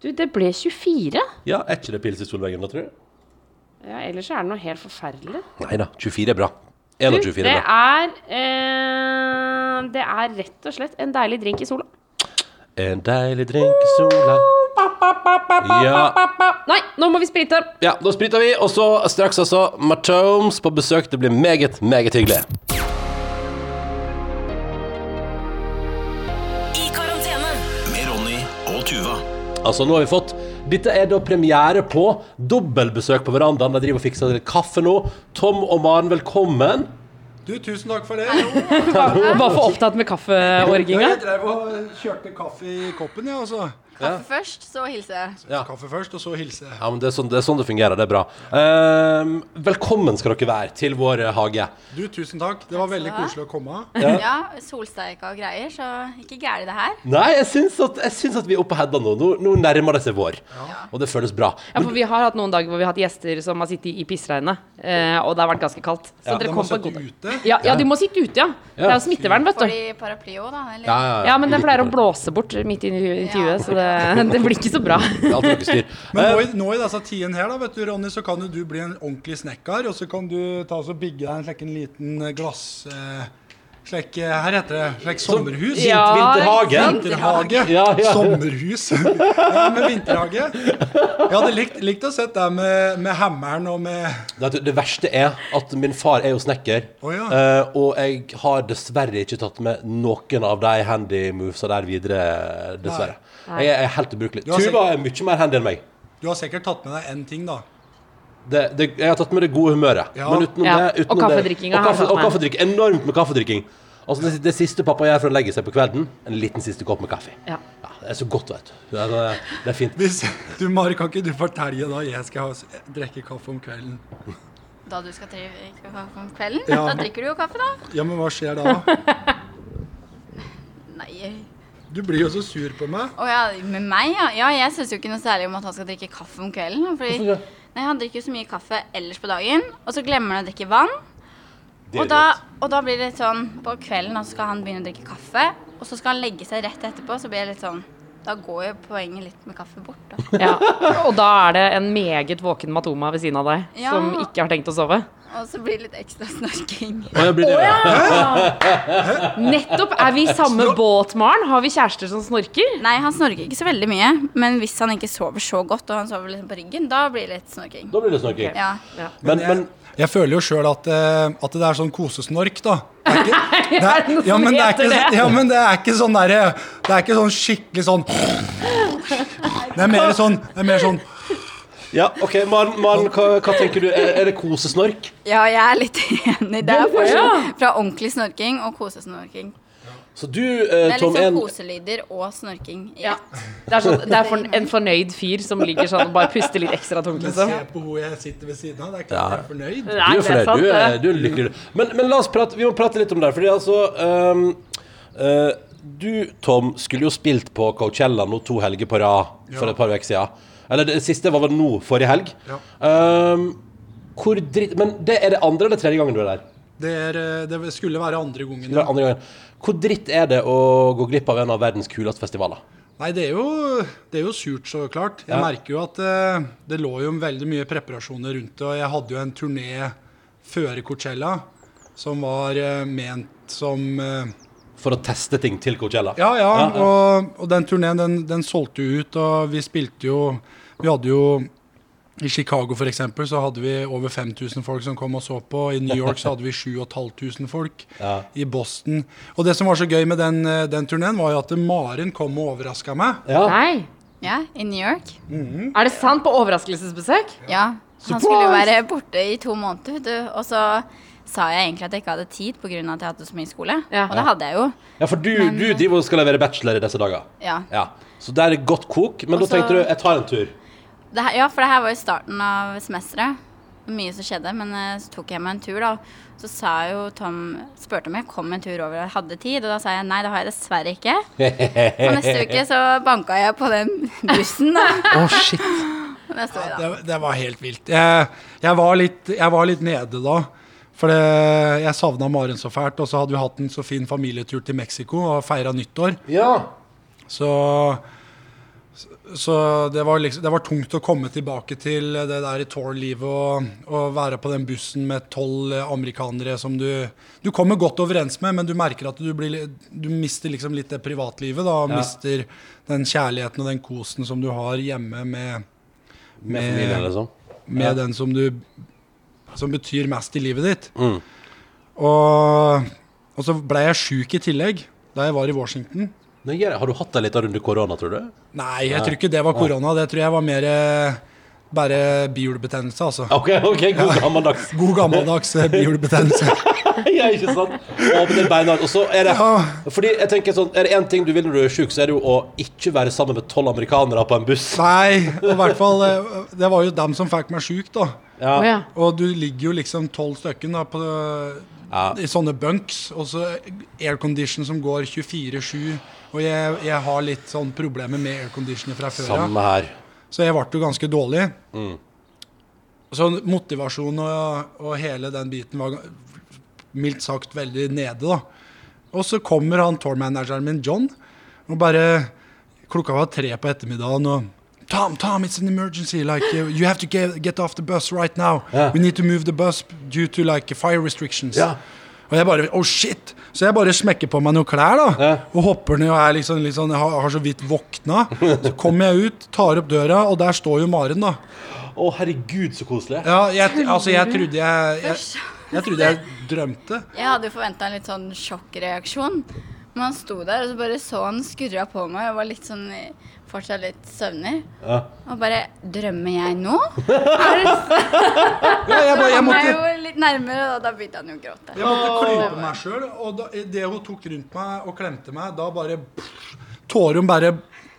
D: Du, det ble 24.
C: Ja, er ikke det pils i solveggen da, tror du?
D: Ja, ellers er det noe helt forferdelig.
C: Nei da, 24 er bra.
D: Du,
C: 21
D: det
C: er bra.
D: er eh, Det er rett og slett en deilig drink i sola.
C: En deilig drink i sola Ja.
D: Nei, nå må vi sprite.
C: ja, da spriter vi. Og så straks altså Matomes på besøk. Det blir meget, meget hyggelig.
B: I karantene.
A: Med Ronny og Tuva.
C: Altså, nå har vi fått Dette er da premiere på dobbeltbesøk på verandaen. De driver og fikser litt kaffe nå. Tom og Maren, velkommen.
E: Du, tusen takk for det. Jo,
D: Bare for opptatt med kaffeorginga.
E: jeg drev og kjørte kaffe i koppen, jeg, ja, altså.
F: Kaffe først, så hilser jeg.
E: Kaffe først, og så hilse.
C: Ja, men det er sånn det, er sånn det fungerer. Det er bra. Ehm, velkommen skal dere være til vår eh, hage.
E: Du, tusen takk. Det var veldig
F: ha.
E: koselig å komme.
F: Ja, Solsteika og greier, så ikke gærent det her.
C: Nei, jeg syns at, jeg syns at vi er oppe på Hedda nå. nå. Nå nærmer det seg vår. Og det føles bra.
D: Ja, for vi har hatt noen dager hvor vi har hatt gjester som har sittet i pissregnet, eh, og det har vært ganske kaldt. Så
E: De
D: dere
E: har
D: kom på en
E: sittet
D: god dag.
E: ute.
D: Ja, ja, de må sitte ute, ja. Det er jo smittevern, vet
F: Får
D: du.
F: de paraply òg, da? Eller?
C: Ja, ja, ja.
D: Ja, men den pleier å blåse bort midt i intervjuet, så det eh, det blir ikke så bra.
C: Det er alltid noe styr.
E: Men nå
C: Eh,
E: i, nå i disse tidene her, da, vet du, Ronny, så kan jo du bli en ordentlig snekker. Og så kan du ta og så bygge deg en slik en liten glass... Eh, slik, eh, her heter det slik sommerhus.
D: Ja,
C: Vinterhagen.
E: Vinterhage.
C: Ja, ja.
E: Sommerhus. ja, med vinterhage. Jeg hadde likt, likt å sett det med, med hammeren og med
C: Det, det verste er at min far er jo snekker,
E: Å, ja.
C: eh, og jeg har dessverre ikke tatt med noen av de handy movesa der videre, dessverre.
D: Nei.
C: Jeg er helt ubrukelig.
E: Du har
C: Tuva er mye mer handy enn meg.
E: Du har sikkert tatt med deg én ting, da.
C: Det, det, jeg har tatt med det gode humøret.
E: Ja.
C: Men utenom
D: Ja,
C: det,
D: og
C: utenom
D: kaffedrikkinga
C: det, og,
D: har
C: kaffe,
D: jeg tatt
C: og
D: med.
C: kaffedrikk. Enormt med kaffedrikking. Altså det, det siste pappa gjør for å legge seg på kvelden, en liten siste kopp med kaffe.
D: Ja.
C: det er så godt, vet du. Det er, det er fint.
E: Hvis, du, Mari, kan ikke du fortelle da jeg skal ha, drikke kaffe om kvelden?
F: Da du skal drikke kaffe om kvelden?
E: Ja.
F: Da drikker du jo kaffe, da.
E: Ja, men hva skjer da?
F: Nei.
E: Du blir jo så sur på meg.
F: Å ja, med meg, ja. ja jeg syns jo ikke noe særlig om at han skal drikke kaffe om kvelden.
C: Hvorfor
F: Fordi
C: det?
F: nei, han drikker jo så mye kaffe ellers på dagen, og så glemmer han å drikke vann.
C: Det
F: Og
C: er
F: da,
C: idiot.
F: og da blir det litt sånn På kvelden da skal han begynne å drikke kaffe, og så skal han legge seg rett etterpå, så blir det litt sånn Da går jo poenget litt med kaffe bort, da.
D: Ja. Og da er det en meget våken Matoma ved siden av deg
F: Ja.
D: som ikke har tenkt å sove.
F: Og så blir det litt ekstra snorking.
C: Å, jeg blir det, ja.
D: Nettopp! Er vi i samme båt, Maren? Har vi kjærester som snorker?
F: Nei, han snorker ikke så veldig mye, men hvis han ikke sover så godt, og han sover liksom på ryggen, da blir det litt snorking.
C: Da blir det snorking.
F: Ja.
C: Men, men
E: Jeg føler jo sjøl at, eh, at det er sånn kosesnork, da. Det er ikke, det
D: er det noe
E: ja,
D: som
E: men det er
D: heter
E: ikke,
D: det?
E: ja, men det er ikke sånn derre Det er ikke sånn skikkelig sånn Det er mer sånn, det er mer sånn
C: Ja, OK, Maren, Maren hva, hva tenker du? Er, er det kosesnork?
F: ja, jeg er litt enig. Det er forskjell fra ordentlig snorking og kosesnorking.
C: Så du, eh,
F: Det er
C: Tom,
F: liksom
C: en
F: koselyder og snorking.
D: Ja.
F: Ja.
D: Det er, sånn, det er for, en fornøyd fyr som ligger sånn og bare puster litt ekstra tungt,
E: Men se
D: liksom.
E: på hvor jeg sitter ved siden av. Det er ikke at jeg er fornøyd.
D: Nei,
C: du er
D: det er
C: fornøyd.
D: sant,
C: Du er,
D: det.
C: du er lykkelig. Men, men la oss prate, vi må prate litt om det. Fordi altså ehm, eh, Du, Tom, skulle jo spilt på Coachella nå to helger på rad for
E: Ja.
C: et par uker siden. Eller det siste var vel nå, forrige helg.
E: Ja.
C: Ehm, hvor dritt Men det er det andre eller tredje gangen du er der?
E: Det, er, eh, det skulle være andre gangen.
C: Det er andre gangen. Hvor dritt er det å gå glipp av en av verdens kuleste festivaler?
E: Nei, det er, jo, det er jo surt, så klart. Jeg merker jo at eh, det lå jo veldig mye preparasjoner rundt det. Og jeg hadde jo en turné før Coachella som var eh, ment som eh,
C: For å teste ting til Coachella?
E: Ja, ja. Og, og den turneen, den, den solgte jo ut, og vi spilte jo Vi hadde jo i Chicago for eksempel, så hadde vi over 5000 folk som kom og så på. I New York så hadde vi 7500 folk. I Boston. Og det som var så gøy med den, eh, den turneen, var jo at Maren kom og overraska meg.
C: Ja.
D: Nei.
F: ja, i New York.
D: Er det sant? På overraskelsesbesøk?
F: Ja. Han skulle jo være borte i to måneder, vet du. Og så sa jeg egentlig at jeg ikke hadde tid pga. at jeg hadde så mye skole.
D: Ja.
F: Og det hadde jeg jo.
C: Ja, for du, du driver og skal levere bachelor i disse dager.
F: Ja.
C: Ja. Så der er det godt kok, men
F: Og så-
C: da tenkte du jeg tar en tur.
F: Det her, ja, for det her var jo starten av semesteret. Mye som skjedde, men eh, så tok jeg meg en tur, da. Så sa jo Tom spurte om jeg kom en tur over og hadde tid, og da sa jeg nei, det har jeg dessverre ikke. Og neste uke så banka jeg på den bussen, da.
C: Å, shit.
F: Neste uke, da.
E: Det, det var helt vilt. Jeg, jeg, var litt, jeg var litt nede da. For det, jeg savna Maren så fælt. Og så hadde vi hatt en så fin familietur til Mexico og feira nyttår.
C: Ja.
E: Så, så det, var liksom, det var tungt å komme tilbake til det der i tour-livet og, og være på den bussen med tolv amerikanere som du Du kommer godt overens med, men du merker at du, blir, li- du mister liksom litt det privatlivet. Da, og
C: Ja.
E: Mister den kjærligheten og den kosen som du har hjemme med, Eh.
C: Med familien, liksom.
E: med
C: Ja.
E: den som du Som betyr mest i livet ditt. Og, og så ble jeg sjuk i tillegg da jeg var i Washington.
C: Nei, jeg- har du hatt deg litt runde korona, tror du?
E: Nei, jeg tror ikke det var korona. Det tror jeg var mer eh, bare bihulebetennelse, altså.
C: Ok, ok, god gammeldags.
E: God gammeldags eh, bihulebetennelse.
C: ja, ikke sant? Åpne beina. Og så er det
E: Ja.
C: Fordi jeg tenker sånn, er det én ting du vil når du er sjuk, så er det jo å ikke være sammen med tolv amerikanere på en buss.
E: Nei, og i hvert fall eh, Det var jo dem som fikk meg sjuk, da.
D: Å ja.
E: Og du ligger jo liksom tolv stykken da, på,
C: Ja.
E: i sånne bunks, og så aircondition som går 24-7. Og jeg, jeg har litt sånn problemer med airconditioner fra før av.
C: Samme her.
E: Så jeg ble jo ganske dårlig. Så motivasjonen og, og hele den biten var mildt sagt veldig nede, da. Og så kommer han tourmanageren min, John, og bare Klokka var tre på ettermiddagen, og Tom, Tom, it's an emergency. Like, you you have to get, get off the bus right now.
C: Ja.
E: We need to move the bus due to like fire restrictions.
C: Ja.
E: Og jeg bare Oh, shit! Så jeg bare smekker på meg noen klær, da. Og hopper ned og er liksom, litt sånn- jeg har, har så vidt våkna. Så kommer jeg ut, tar opp døra, og der står jo Maren, da.
C: Å, herregud, så koselig.
E: Ja, jeg, altså, jeg trodde jeg, jeg Jeg trodde jeg drømte.
F: Jeg hadde jo forventa en litt sånn sjokkreaksjon. Men han sto der, og så bare så han skurra på meg og var litt sånn i- fortsatt litt søvnig.
C: Ja.
F: Og bare Drømmer jeg nå?
E: Ja, jeg, bare, jeg
F: Han er
E: måtte
F: jo litt nærmere, og da begynte han jo å gråte.
E: Jeg måtte klype meg sjøl, og da, i det hun tok rundt meg og klemte meg, da bare Tåren bare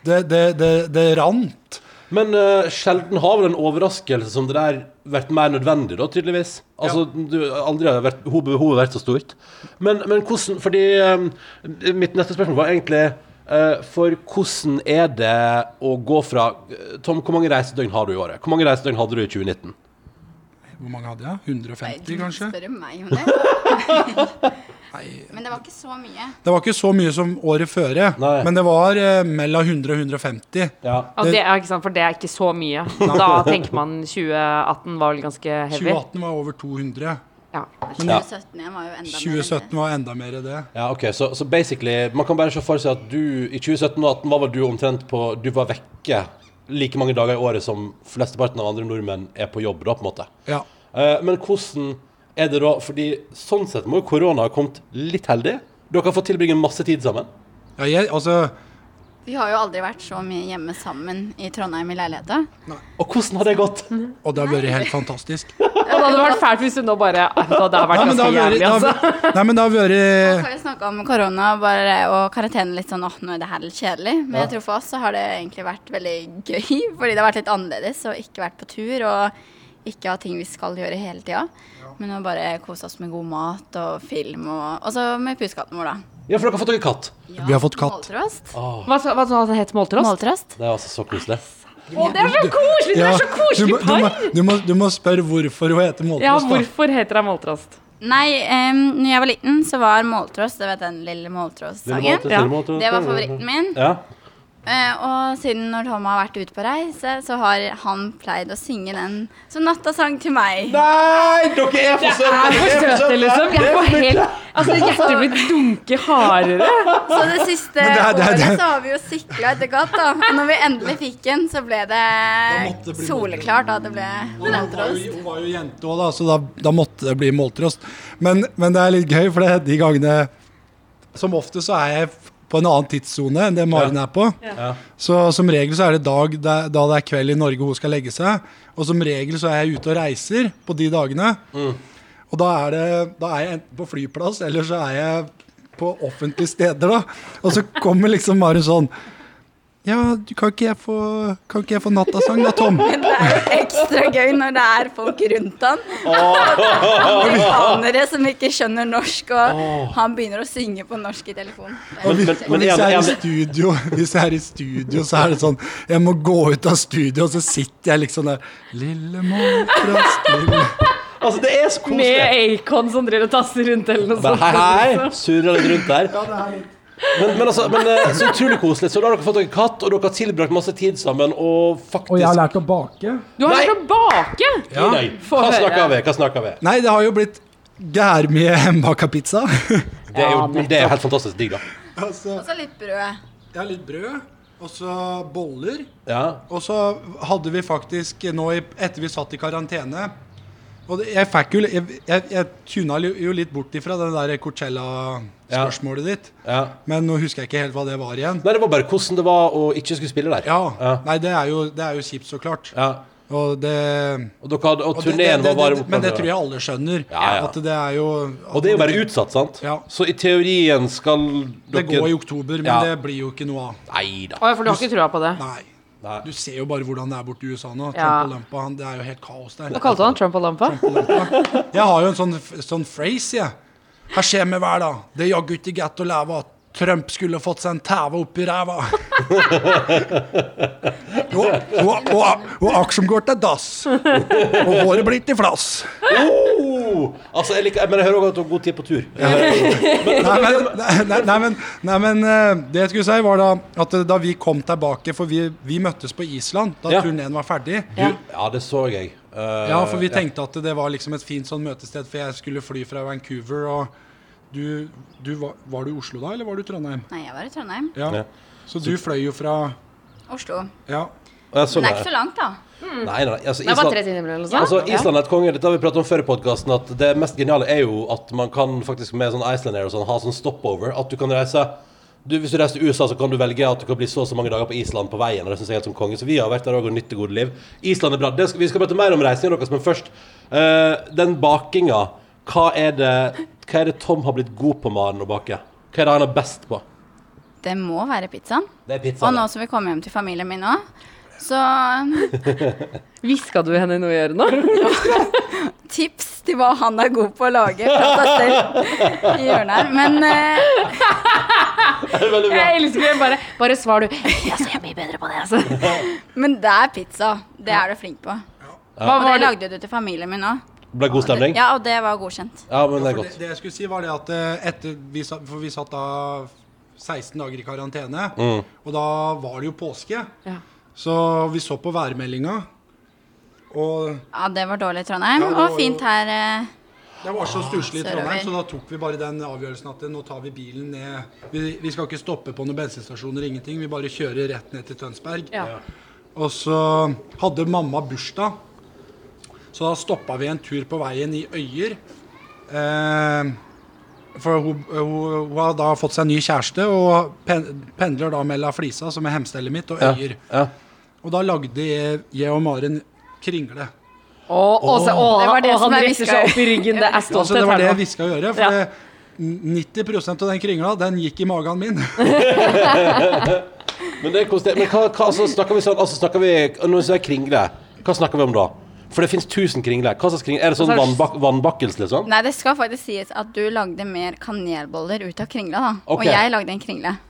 E: Det, det, det, det rant.
C: Men eh, sjelden har vel en overraskelse som det der vært mer nødvendig, da, tydeligvis. Altså, du, aldri har vært, ho- behovet vært så stort. Men, men hvordan Fordi eh, mitt neste spørsmål var egentlig eh, For hvordan er det å gå fra Tom, hvor mange reisedøgn har du i året? Hvor mange reisedøgn hadde du i 2019?
E: Hvor mange hadde jeg? 150, kanskje?
F: Spør meg om det.
E: Nei.
F: Men det var ikke så mye.
E: Det var ikke så mye som året før,
C: Nei.
E: men det var eh, mellom 100 og 150.
C: Ja.
D: Ja, det er ikke sant, for det er ikke så mye. Da tenker man 2018 var vel ganske heavy.
E: 2018 var over 200.
D: Ja.
F: Men 2017 igjen var jo enda mer.
E: 2017 var enda mer i det.
C: Ja, ok, så, så basically Man kan bare se for seg at du i 2017 og 2018 var vel du omtrent på Du var vekke like mange dager i året som flesteparten av andre nordmenn er på jobb, da, på en måte.
E: Ja.
C: Eh, men hvordan er det da Fordi sånn sett må jo korona ha kommet litt heldig. Dere har fått tilbringe masse tid sammen.
E: ja jeg, altså
F: Vi har jo aldri vært så mye hjemme sammen i Trondheim i leiligheta.
C: Og hvordan har det gått?
D: Mhm.
E: Og det har vært helt fantastisk.
D: Og det hadde vært fælt hvis du nå bare "Ah, vet du hva, Det har vært
E: Nei, men det
D: ganske
E: har vært
D: jævlig, altså.
E: Nei, men det har
F: Vi
E: vært
F: har jo snakka om korona bare, og karantene litt sånn åh, nå er det her litt kjedelig. Men jeg tror for oss så har det egentlig vært veldig gøy, fordi det har vært litt annerledes og ikke vært på tur og ikke ha ting vi skal gjøre hele tida. Men å bare kose oss med god mat og film og Og så med pusekatten vår, da.
C: Ja, for dere har fått dere katt.
E: Vi har fått katt.
F: Måltrost.
D: Hva, sa- hva sa han het Måltrost?
F: Måltrost.
C: Det er altså så koselig.
D: Å, det er så koselig! Det
E: Ja,
D: er så koselig
E: du, må, altså-
D: par!
E: du, må, du må spørre hvorfor hun heter Måltrost.
D: Ja,
E: da.
D: hvorfor heter han Måltrost?
F: Nei, um, når jeg var liten, så var Måltrost Du vet den lille
C: Lille
F: Måltrost-sangen?
C: måte, lille måte.
F: Det var favoritten min.
C: Ja.
F: Eh, og siden når Tom har vært ute på reise, så har han pleid å synge den som nattasang til meg.
C: Nei, dere er for
D: Det er for søte, liksom. Jeg får helt Altså, hjertet mitt dunker hardere.
F: Så det siste
E: Men det er- det er- det er-
F: året så har vi jo sikla etter godt, da. Og når vi endelig fikk den, så ble det
E: måtte det bli
F: soleklart at det ble
E: Hun var jo- hun var jo jente òg, da, så da, da måtte det bli måltrost. Men, men det er litt gøy, for det, de gangene Som ofte så er jeg f- på en annen tidssone enn det Maren er på. Så som regel så er det dag da, da det er kveld i Norge hun skal legge seg. Og som regel så er jeg ute og reiser på de dagene. Og da er, det, da er jeg enten på flyplass, eller så er jeg på offentlige steder, da. Og så kommer liksom Maren sånn Ja, du, kan ikke jeg få, kan ikke jeg få nattasang da, Tom?
F: Det er jo ekstra gøy når det er folk rundt han. Amerikanere som ikke skjønner norsk, og han begynner å synge på norsk i telefonen.
E: Og hvis,
C: Men- men- men
E: hvis, jeg er
C: jeg-
E: i studio, hvis jeg er i studio, så er det sånn Jeg må gå ut av studio, og så sitter jeg liksom der Lille måltrost, lille
C: Altså, det er så
D: Med
C: koselig.
D: Acon som driver og tasser rundt, eller noe
C: Bare
D: sånt.
C: hei,
D: liksom.
C: hei. Surrer litt rundt der.
E: Ja, det er litt-
C: Men, men altså, men eh, så utrolig koselig. Så da har dere fått dere katt, og dere har tilbrakt masse tid sammen, og faktisk
E: lært å bake.
D: Du har
C: Nei.
D: lært å bake!
E: Ja.
C: Nei,
D: Få
C: hva
D: høre.
C: snakker vi? Hva snakker vi?
E: Nei, det har jo blitt gærmye hjemmebaka pizza.
C: Det er
D: Ja,
C: jo
D: nettopp.
C: det er helt fantastisk digg, da.
E: altså,
F: Og så litt brød.
E: jeg har litt brød, og så boller.
C: Ja.
E: Og så hadde vi faktisk nå i, etter vi satt i karantene og det, jeg, fikk jo, jeg, jeg, jeg tuna jo- jo litt bort ifra det der Coachella-spørsmålet ditt.
C: Ja.
E: Men nå husker jeg ikke helt hva det var igjen.
C: Nei, det var bare hvordan det var å ikke skulle spille der.
E: Ja,
C: Ja.
E: Nei, det er, jo, det er jo kjipt, så klart.
C: Ja.
E: Og det
C: Og, dere hadde, og
E: og det-
C: turneen var
E: det-
C: varm
E: det- Men det tror jeg alle skjønner.
C: Ja, ja.
E: At det er jo at
C: Og det er jo bare utsatt, sant?
E: Ja.
C: Så i teorien skal dere
E: Det går i oktober, men
C: Ja.
E: det blir jo ikke noe av.
C: Nei da.
D: Å, for du har ikke trua på det?
E: Nei.
C: Nei.
E: Du ser jo bare hvordan det er borte i USA nå. Trump
D: Ja.
E: og Lampa, han, det er jo helt kaos der.
D: Hva kalte han Trump og Lampa?
E: Jeg har jo en sånn, sånn phrase, jeg. Her skjer med hver dag. Det er jaggu ikke godt å leve. Trump skulle fått seg en tæve oppi ræva. Og, og, og, og aksjen går til dass. Og håret blir til flass.
C: Oh! Altså, jeg liker, men jeg hører også at du har god tid på tur.
E: Nei, men, nei, nei, men, nei, men eh, det jeg skulle si, var da at eh, da vi kom tilbake For vi, vi møttes på Island da
C: Ja.
E: turneen var ferdig.
C: Du, ja, det så jeg. Eh,
E: Ja, for vi tenkte at det var liksom et fint sånn møtested, for jeg skulle fly fra Vancouver, og du, du var, var du i Oslo da, eller var du i Trondheim?
F: Nei, jeg var i Trondheim.
E: Ja.
C: Ja.
E: Så du fløy jo fra
F: Oslo.
E: Ja.
C: og jeg så
F: Men det er ikke sånn- så langt, da.
C: Nei, nei, nei, altså,
D: Det var tre
C: Island,
D: timer eller noe sånt.
C: altså,
D: Ja.
C: Island er et konge. Dette har vi pratet om før i podcasten At det mest geniale er jo at man kan faktisk med sånn Iceland Air og sånn ha sånn stopover. At du kan reise du, Hvis du reiser til USA, så kan du velge at du kan bli så og så mange dager på Island på veien. Og det synes jeg er helt som konge Så vi har vært der også og nytt det gode liv. Island er bra. Det skal, vi skal prate mer om reisingen deres, men først eh, den bakinga. Hva er, det, hva er det Tom har blitt god på, Maren, å bake? Hva er det han er best på?
F: Det må være pizzaen.
C: Det er pizza.
F: Og nå
C: det.
F: som vi kommer hjem til familien min òg, så
D: Hviska du henne noe i øret nå?
F: tips til hva han er god på å lage fra seg selv i hjørnet her. Men eh,
C: Det er veldig bra.
D: Jeg elsker det. Bare, bare svar, du. Altså, jeg er mye bedre på det, altså.
F: Men det er pizza. Det er du flink på.
D: Hva
F: Og det
D: var det?
F: lagde du til familien min òg.
C: Ble god stemning?
F: Ja, og det var godkjent.
C: Ja, men det er
E: For det,
C: godt.
E: det jeg skulle si, var det at eh, etter vi satt, For vi satt da 16 dager i karantene,
C: Mm.
E: og da var det jo påske.
D: Ja.
E: Så vi så på værmeldinga, og
F: Ja, det var dårlig i Trondheim.
E: Ja, det var
F: Og fint
E: jo-
F: her. eh,
E: Det var så stusslig i
F: sørover.
E: Trondheim, så da tok vi bare den avgjørelsen at eh, nå tar vi bilen ned. Vi, vi skal ikke stoppe på noen bensinstasjoner, ingenting. Vi bare kjører rett ned til Tønsberg.
D: Ja.
E: Og så hadde mamma bursdag, så da stoppa vi en tur på veien i Øyer. Eh, for hun, hun, hun har da fått seg ny kjæreste og pen, pendler da mellom Flisa, som er hemstellet mitt, og
C: Ja,
E: Øyer.
C: ja.
E: Og da lagde jeg, jeg og Maren kringle.
D: Å, Åse, å,
F: Det var det
D: å,
F: som
D: han
F: jeg
D: reiser
F: hviska.
D: seg opp i ryggen. Det er
E: Altså, det
D: stolthet
E: var det
D: her
E: vi
D: nå.
E: skal gjøre. For
D: Ja.
E: det- 90 av den kringla, den gikk i magen min.
C: Men, det er konstant- men hva, hva altså, snakker vi sånn altså, snakker vi, Når vi sier kringle, hva snakker vi om da? For det finnes tusen kringler. Hva slags kringle? Er det sånn
D: Hva
F: Altså,
C: vannbak
D: slags-
C: vannbakkels, liksom?
F: Nei, det skal faktisk sies at du lagde mer kanelboller ut av kringla, da.
C: Ok.
F: Og jeg lagde en kringle.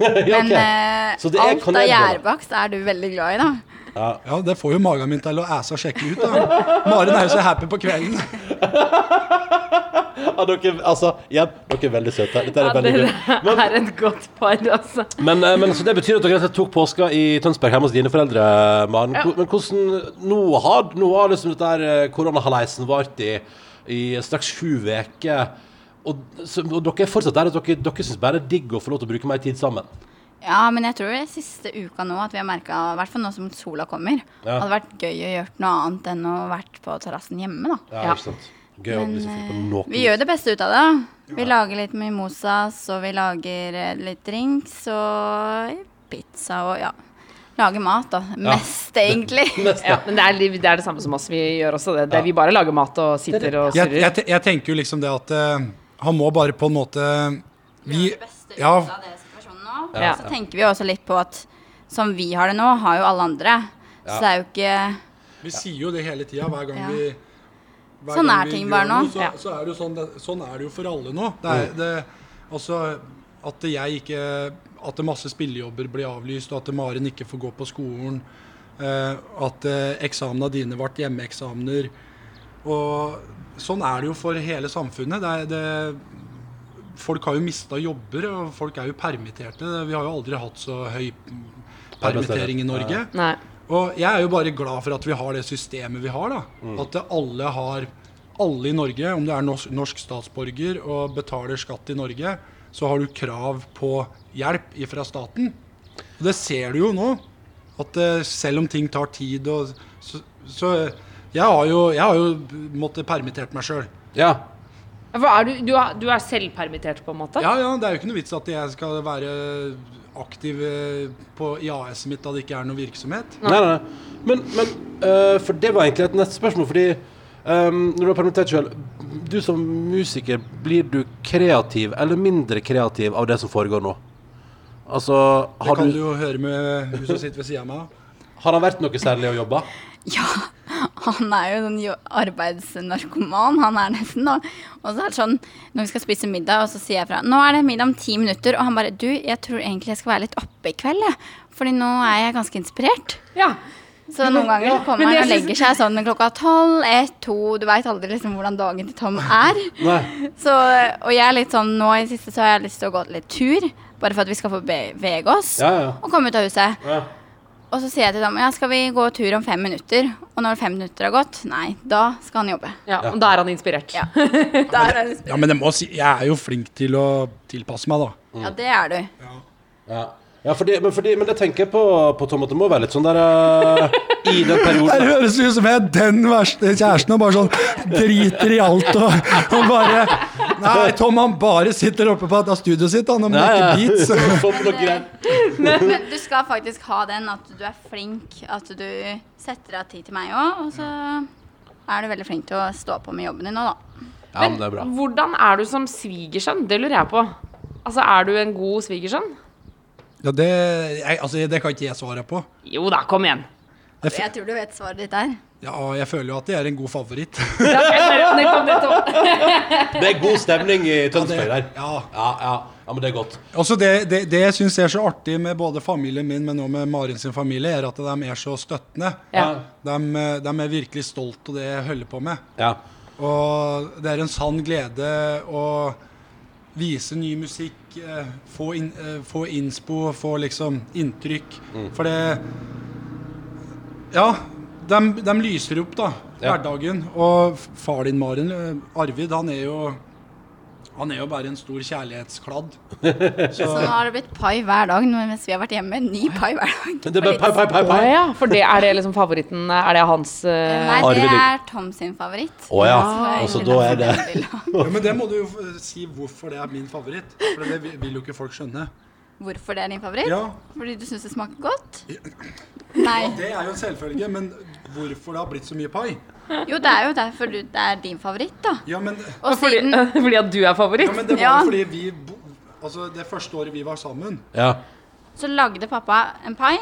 C: Ja, ok.
F: Men eh,
C: Så det er
F: alt av
C: kanelboller.
F: gjærbakst er du veldig glad i, da.
E: Ja, Det får jo magen min til å æsa sjekke ut. da Maren er jo så happy på kvelden.
C: ja, dere, altså, igjen, dere er veldig søte. Dette er
D: Ja,
C: veldig gøy.
D: dere er et godt par, altså.
C: Men, eh, men så det betyr at dere rett og slett tok påska i Tønsberg hjemme hos dine foreldre, Maren. Hvor- Men hvordan Nå har, nå har liksom dette her eh, koronahaleisen vart i, i straks sju uker. Og, så- og dere er fortsatt der at dere, dere syns bare det er digg å få lov til å bruke mer tid sammen.
F: Ja, men jeg tror det er siste uka nå at vi har merka, i hvert fall nå som sola kommer,
C: Ja.
F: hadde vært gøy å gjøre noe annet enn å vært på terrassen hjemme, da.
C: Ja,
D: Ja.
C: ikke sant? Gøy å liksom finne på noe.
F: eh, Vi gjør det beste ut av det. da. Vi lager litt mimosas, og vi lager eh, litt drinks og pizza og ja. Lager mat, da. Mest, egentlig.
C: Neste.
D: Ja, men det er, det er det samme som oss. Vi gjør også det. det er vi bare lager mat og sitter og
E: Jeg, jeg,
D: surrer.
E: te- jeg tenker jo liksom det at eh, han må bare på en måte vi,
F: det beste ut
E: ja,
F: av det situasjonen nå.
D: Ja.
F: Så tenker vi også litt på at som vi har det nå, har jo alle andre. Så det er jo ikke
E: vi sier jo det hele tida hver gang
F: Ja.
E: vi hver
F: Sånn
E: gang
F: er
E: vi
F: ting
E: gjør
F: bare nå.
E: noe, Så,
D: Ja.
E: så er det jo sånn, det, sånn er det jo for alle nå. Det er, det, altså, at jeg ikke At det masse spillejobber blir avlyst, og at Maren ikke får gå på skolen. eh, at eh, eksamena dine ble hjemmeeksamener. Og sånn er det jo for hele samfunnet. Det er, det, folk har jo mista jobber, og folk er jo permitterte. Vi har jo aldri hatt så høy permittering i Norge.
D: Nei.
E: Og jeg er jo bare glad for at vi har det systemet vi har. da. At alle har alle i Norge, om du er norsk, norsk statsborger og betaler skatt i Norge, så har du krav på hjelp fra staten. Og det ser du jo nå. At eh, selv om ting tar tid og Så, så jeg, har jo, jeg har jo måttet permittert meg sjøl.
C: Ja.
D: For er du, du, er, du er selvpermittert, på en måte?
E: Ja, ja, det er jo ikke noe vits at jeg skal være aktiv eh, på, i AS-et mitt da det ikke er noe virksomhet.
C: Nei, nei, nei. Men, men øh, For det var egentlig et neste spørsmål, fordi øhm, Når du har permittert sjøl, du som musiker, blir du kreativ eller mindre kreativ av det som foregår nå? Altså,
E: Det
C: har,
E: kan du
C: du,
E: jo høre med hun som sitter ved siden av meg. da.
C: har han vært noe særlig å jobbe?
F: Ja, han er jo sånn jo- arbeidsnarkoman, han er nesten. Og, og så er det sånn, når vi skal spise middag, og så sier jeg fra Nå er det middag om ti minutter, og han bare Du, jeg tror egentlig jeg skal være litt oppe i kveld, jeg. Fordi nå er jeg ganske inspirert.
D: Ja.
F: Så noen ganger så kommer
D: men jeg
F: han og
D: synes-
F: legger seg sånn klokka tolv, ett, to Du veit aldri liksom hvordan dagen til Tom er.
C: Nei.
F: Så, og jeg er litt sånn, nå i det siste så har jeg lyst til å gå litt tur, bare for at vi skal få bevege oss
C: Ja, ja.
F: og komme ut av huset.
C: Ja.
F: Og så sier jeg til dem, ja, skal vi gå tur om fem minutter? Og når fem minutter har gått, nei, da skal han jobbe.
D: ja. Og da er han inspirert.
F: Ja. Der er det
E: Ja, men jeg må si, jeg er jo flink til å tilpasse meg, da.
F: Ja, det er du.
C: Ja. Ja, fordi, men, fordi, men det tenker jeg på, på Tom, at det må være litt sånn der eh, I den
E: Det
C: perioden
E: høres ut som jeg er den verste kjæresten og bare sånn driter i alt og, og bare Nei, Tom han bare sitter oppe på dette studioet sitt han, og maker beats.
C: Som noe greier.
F: Men du skal faktisk ha den at du er flink, at du setter av tid til meg også, og så er du veldig flink til å stå på med jobben din nå, da.
C: Ja, men det er bra.
D: Hvordan er du som svigersønn? Det lurer jeg på. Altså, er du en god svigersønn?
E: Ja, det, jeg, altså, det kan ikke jeg svare på.
D: Jo da, kom igjen.
E: Jeg, f-
F: Jeg tror du vet svaret ditt der.
E: ja, jeg føler jo at jeg er en god favoritt.
D: Nettopp, nettopp.
C: Det er god stemning i Tønsberg
E: Det,
C: her. Ja,
E: ja.
C: ja. ja, men det er godt.
E: Også det, det, det jeg syns er så artig med både familien min, men også med Marin sin familie, er at de er så støttende.
D: Ja.
E: De, de er virkelig stolt av det jeg holder på med.
C: Ja.
E: Og det er en sann glede å vise ny musikk, eh, få, inn- eh, få innspo, få liksom inntrykk. For det Ja, de, lyser opp, da,
C: Ja.
E: hverdagen. Og f- far din, Maren, eh, Arvid, han er jo han er jo bare en stor kjærlighetskladd.
F: Så nå har det blitt pai hver dag nå mens vi har vært hjemme. Ny pai hver dag.
C: Men det er bare pai, pai, pai,
D: Å
C: pai.
D: ja, for det er det liksom favoritten Er det hans eh,
F: Nei, det
C: Arvid-
F: er Tom sin favoritt.
C: Å ja. Altså, da er det
E: Ja, men det må du jo f- si hvorfor det er min favoritt. For det vil- vil jo ikke folk skjønne.
F: Hvorfor det er din favoritt?
E: Ja.
F: Fordi du syns det smaker godt? Nei.
E: Det er jo en selvfølge, men hvorfor det har blitt så mye pai?
F: Jo, det er jo derfor du, det er din favoritt, da.
E: Ja, men
F: Og
D: fordi,
F: siden
D: fordi at du er
E: Ja,
D: favoritt?
E: men det var
F: Ja.
E: jo fordi vi bo, Altså, det første året vi var sammen
C: Ja.
F: så lagde pappa en pai,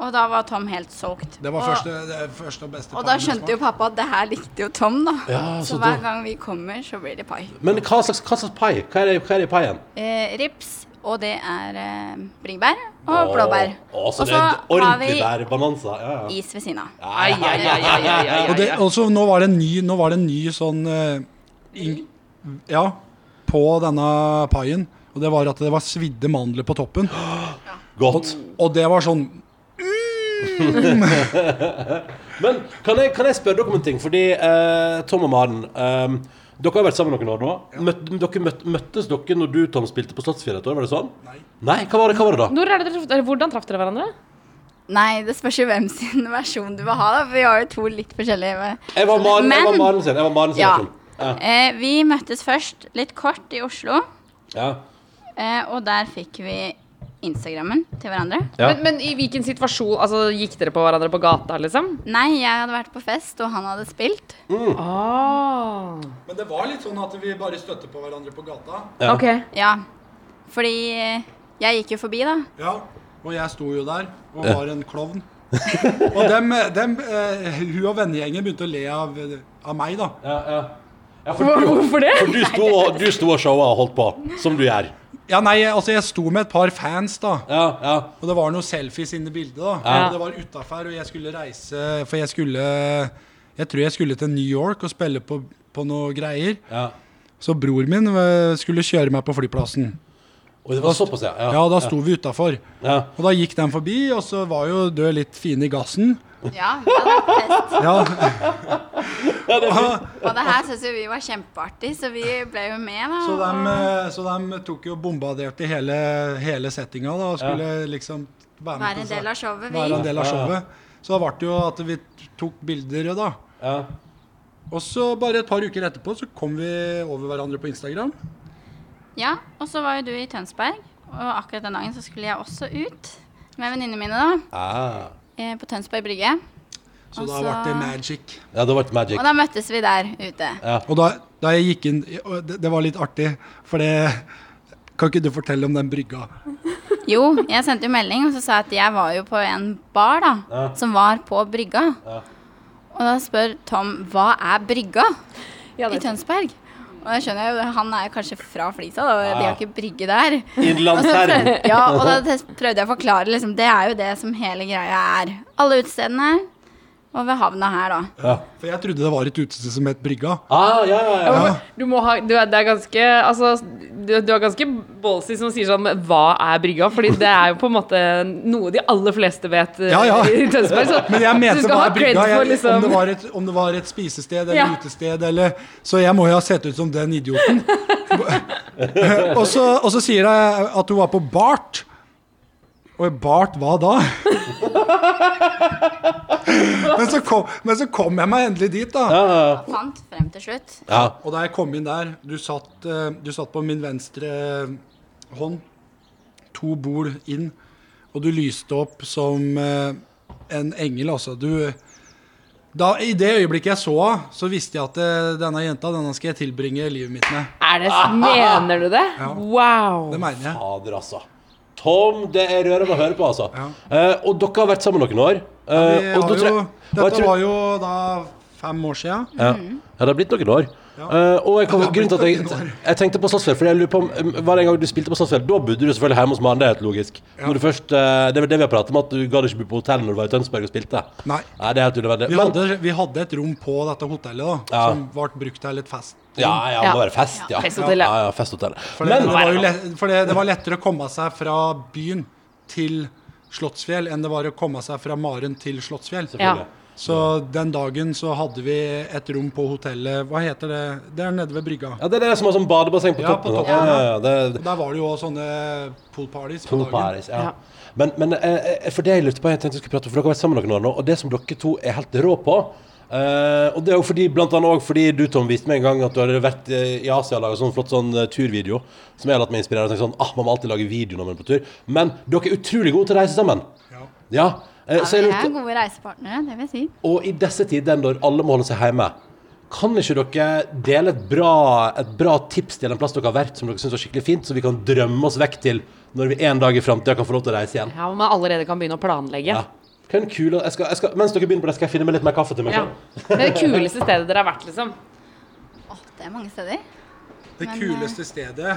F: og da var Tom helt solgt.
E: Det var
F: og,
E: første, det første og beste
F: Og da skjønte jo pappa at det her likte jo Tom, da.
C: Ja,
F: så
C: så
F: hver
C: da-
F: gang vi kommer, så blir det pai.
C: Men hva slags, hva slags pai? Hva er det, hva er det i paien?
F: Eh, rips, og det er eh, bringebær og
C: Å,
F: blåbær.
C: Å,
F: Og
C: så
F: så
C: det er
F: har vi
C: ordentlig bærbananza. Ja, ja.
F: is ved siden av.
D: Ai, ai, ai, ai, ai, ai, ai.
E: Og det, også, nå var det en ny, nå var det en ny sånn eh, ing- Ja, på denne paien. Og det var at det var svidde mandler på toppen.
C: Godt.
E: Og det var sånn
C: Men kan jeg, kan jeg spørre dere om en ting? Fordi eh, Tom og Maren eh, dere har vært sammen noen år nå. Møt, dere møt, møttes dere når du, Tom, spilte på Statsfjellet et år? Var det sånn? Nei. Nei, hva var det, hva var det da?
D: Når er det dere, eller hvordan traff dere hverandre?
F: Nei, det spørs jo hvem sin versjon du vil ha, da. For vi har jo to litt forskjellige eh.
C: Jeg var Maren, jeg var
F: Men-
C: Maren sin. Jeg var Maren sin
F: Ja.
C: versjon. Ja.
F: Eh, vi møttes først litt kort i Oslo,
C: Ja.
F: eh, og der fikk vi Instagrammen til hverandre.
C: Ja.
D: Men, men i hvilken situasjon altså, gikk dere på hverandre på gata, liksom?
F: Nei, jeg hadde vært på fest, og han hadde spilt.
D: Ah.
E: Men det var litt sånn at vi bare støtte på hverandre på gata.
C: Ja.
D: Ok.
F: Ja, fordi eh, jeg gikk jo forbi, da.
E: Ja, og jeg sto jo der og var en klovn. og dem, dem, eh, hun og vennegjengen begynte å le av, av meg, da.
C: Ja, ja. Ja, for,
D: Hvor-
C: du,
D: Hvorfor det?
C: for du sto og, du sto og showa og holdt på, som du gjør.
E: Ja, nei, altså, jeg sto med et par fans, da.
C: Ja, ja.
E: Og det var noen selfies inne i bildet, da.
D: Ja.
E: Og Det var utafor, og jeg skulle reise For jeg skulle Jeg tror jeg skulle til New York og spille på, på noe greier.
C: ja.
E: Så bror min eh, skulle kjøre meg på flyplassen.
C: Og det var såpass, ja.
E: Ja, da sto vi utafor.
C: ja.
E: Og da gikk den forbi, og så var jo død litt fine i gassen.
F: Ja, vi hadde vært på fest.
E: Ja,
F: Og det her syntes jo vi var kjempeartig, så vi ble jo med, da.
E: Så
F: og-
E: de, eh, så de tok jo bombarderte hele, hele settinga da, og skulle liksom være,
F: Være en
E: på-
F: del av showet, vi.
E: være en del av showet. Så da ble det jo at vi tok bilder, da.
C: ja.
E: Og så bare et par uker etterpå så kom vi over hverandre på Instagram.
F: Ja, og så var jo du i Tønsberg, og akkurat den dagen så skulle jeg også ut med venninnene mine, da.
C: Ah.
F: eh, På Tønsberg Brygge.
E: Så
F: Og
E: da
F: så-
E: ble det magic.
C: ja, det var et magic.
F: Og da møttes vi der ute.
E: Og da, da jeg gikk inn og det, det var litt artig, for det Kan ikke du fortelle om den brygga?
F: Jo, jeg sendte jo melding og så sa jeg at jeg var jo på en bar da, som var på brygga. Og da spør Tom hva er brygga
D: Ja,
F: i
D: det er sant.
F: Tønsberg? Og jeg skjønner jo, han er kanskje fra Flisa, da. De har ikke brygge der.
C: Innlandsherren.
F: Ja, og da tes- prøvde jeg å forklare, liksom. Det er jo det som hele greia er. Alle utestedene og ved havna her, da.
C: Ja.
E: For jeg trodde det var et utested som het Brygga.
C: Ah, ja, ja, ja.
D: Du, må ha, du, er, det er ganske, altså, du, du er ganske ballsy som sier sånn Hva er brygga? Fordi det er jo på en måte noe de aller fleste vet eh,
E: Ja, ja.
D: i Tønsberg. Så
E: Men jeg
D: du
E: mente
D: skal
E: hva
D: ha
E: er
D: cred
E: brygga?
D: for
E: Jeg, om,
D: liksom
E: det var et, om det var et spisested eller
D: Ja.
E: utested eller Så jeg må jo ha sett ut som den idioten. og, så, og så sier jeg at hun var på Bart. Og Bart hva da? men, så kom, men så kom jeg meg endelig dit, da.
F: Fant frem til slutt.
C: ja.
E: Og da jeg kom inn der Du satt, eh, du satt på min venstre eh, hånd, to bol inn, og du lyste opp som eh, en engel, altså. Du da, I det øyeblikket jeg så henne, så visste jeg at eh, denne jenta denne skal jeg tilbringe livet mitt med.
D: er det, Mener du det? Wow.
E: Det mener jeg.
C: Fader, altså. Tom, det er rørende å høre på, altså.
E: Ja.
C: Eh, og dere har vært sammen noen år. Eh,
E: Vi
C: og da
E: har
C: tror
E: jo,
C: jeg- og jeg
E: dette
C: tror-
E: var jo da fem år sia.
C: Ja. ja, det har blitt noen år. Eh, og jeg kom,
E: Ja, det har
C: grunnen til at
E: blitt
C: jeg,
E: noen år.
C: jeg tenkte på Slottsfjell, Fordi jeg lurer på om um, Var det en gang du spilte på Slottsfjell, da bodde du selvfølgelig hjemme hos mannen. Det er helt logisk. Når du først, eh, det var det vi har pratet om, at du gadd ikke bo på hotell når du var i Tønsberg og spilte.
E: Nei.
C: det er helt unødvendig.
E: Vi
C: Men-
E: hadde, vi hadde et rom på dette hotellet da,
C: Ja.
E: som ble brukt til litt fest.
C: Ja, ja, det må
D: Ja.
C: være fest, ja.
D: Festhotell, ja.
C: ja, ja festhotell.
E: For det,
C: Men
E: det, var jo lett, for det, det var lettere å komme seg fra byen til Slottsfjell enn det var å komme seg fra Maren til Slottsfjell.
D: Ja.
E: Så den dagen så hadde vi et rom på hotellet Hva heter det? Det er nede ved brygga.
C: ja, det er det som har sånn badebasseng på
E: Ja,
C: toppen.
E: på toppen,
C: Ja, ja, ja,
E: Og
C: det,
E: Der var det jo også sånne poolparties på
C: Pool
E: dagen.
C: parties, ja. Men, men eh, eh, for det jeg lurte på, jeg tenkte jeg skulle prate om, for dere har vært sammen noen år nå, og det som dere to er helt rå på eh, og det er jo fordi, blant annet også fordi du, Tom, viste meg en gang at du hadde vært eh, i Asia og laget sånn flott sånn eh, turvideo, som jeg har latt meg inspirere og tenkt sånn, ah, man må alltid lage video når man er på tur. Men dere er utrolig gode til å reise sammen.
E: Ja.
C: Ja. eh, så
F: Vi
C: jeg
F: er
C: lurte,
F: gode reisepartnere, det vil jeg si.
C: Og i disse tider når alle må holde seg hjemme, kan ikke dere dele et bra, et bra tips til en plass dere har vært som dere syns var skikkelig fint, så vi kan drømme oss vekk til når vi en dag i framtida kan få lov til å reise igjen?
D: Ja, hvor man allerede kan begynne å planlegge.
C: Ja. Hva er den kule- Jeg skal, jeg skal, mens dere begynner på det, skal jeg finne meg litt mer kaffe til meg
D: Ja.
C: selv.
D: Det er det kuleste stedet dere har vært, liksom.
F: Åh, det er mange steder.
E: Det
F: Men,
E: kuleste stedet,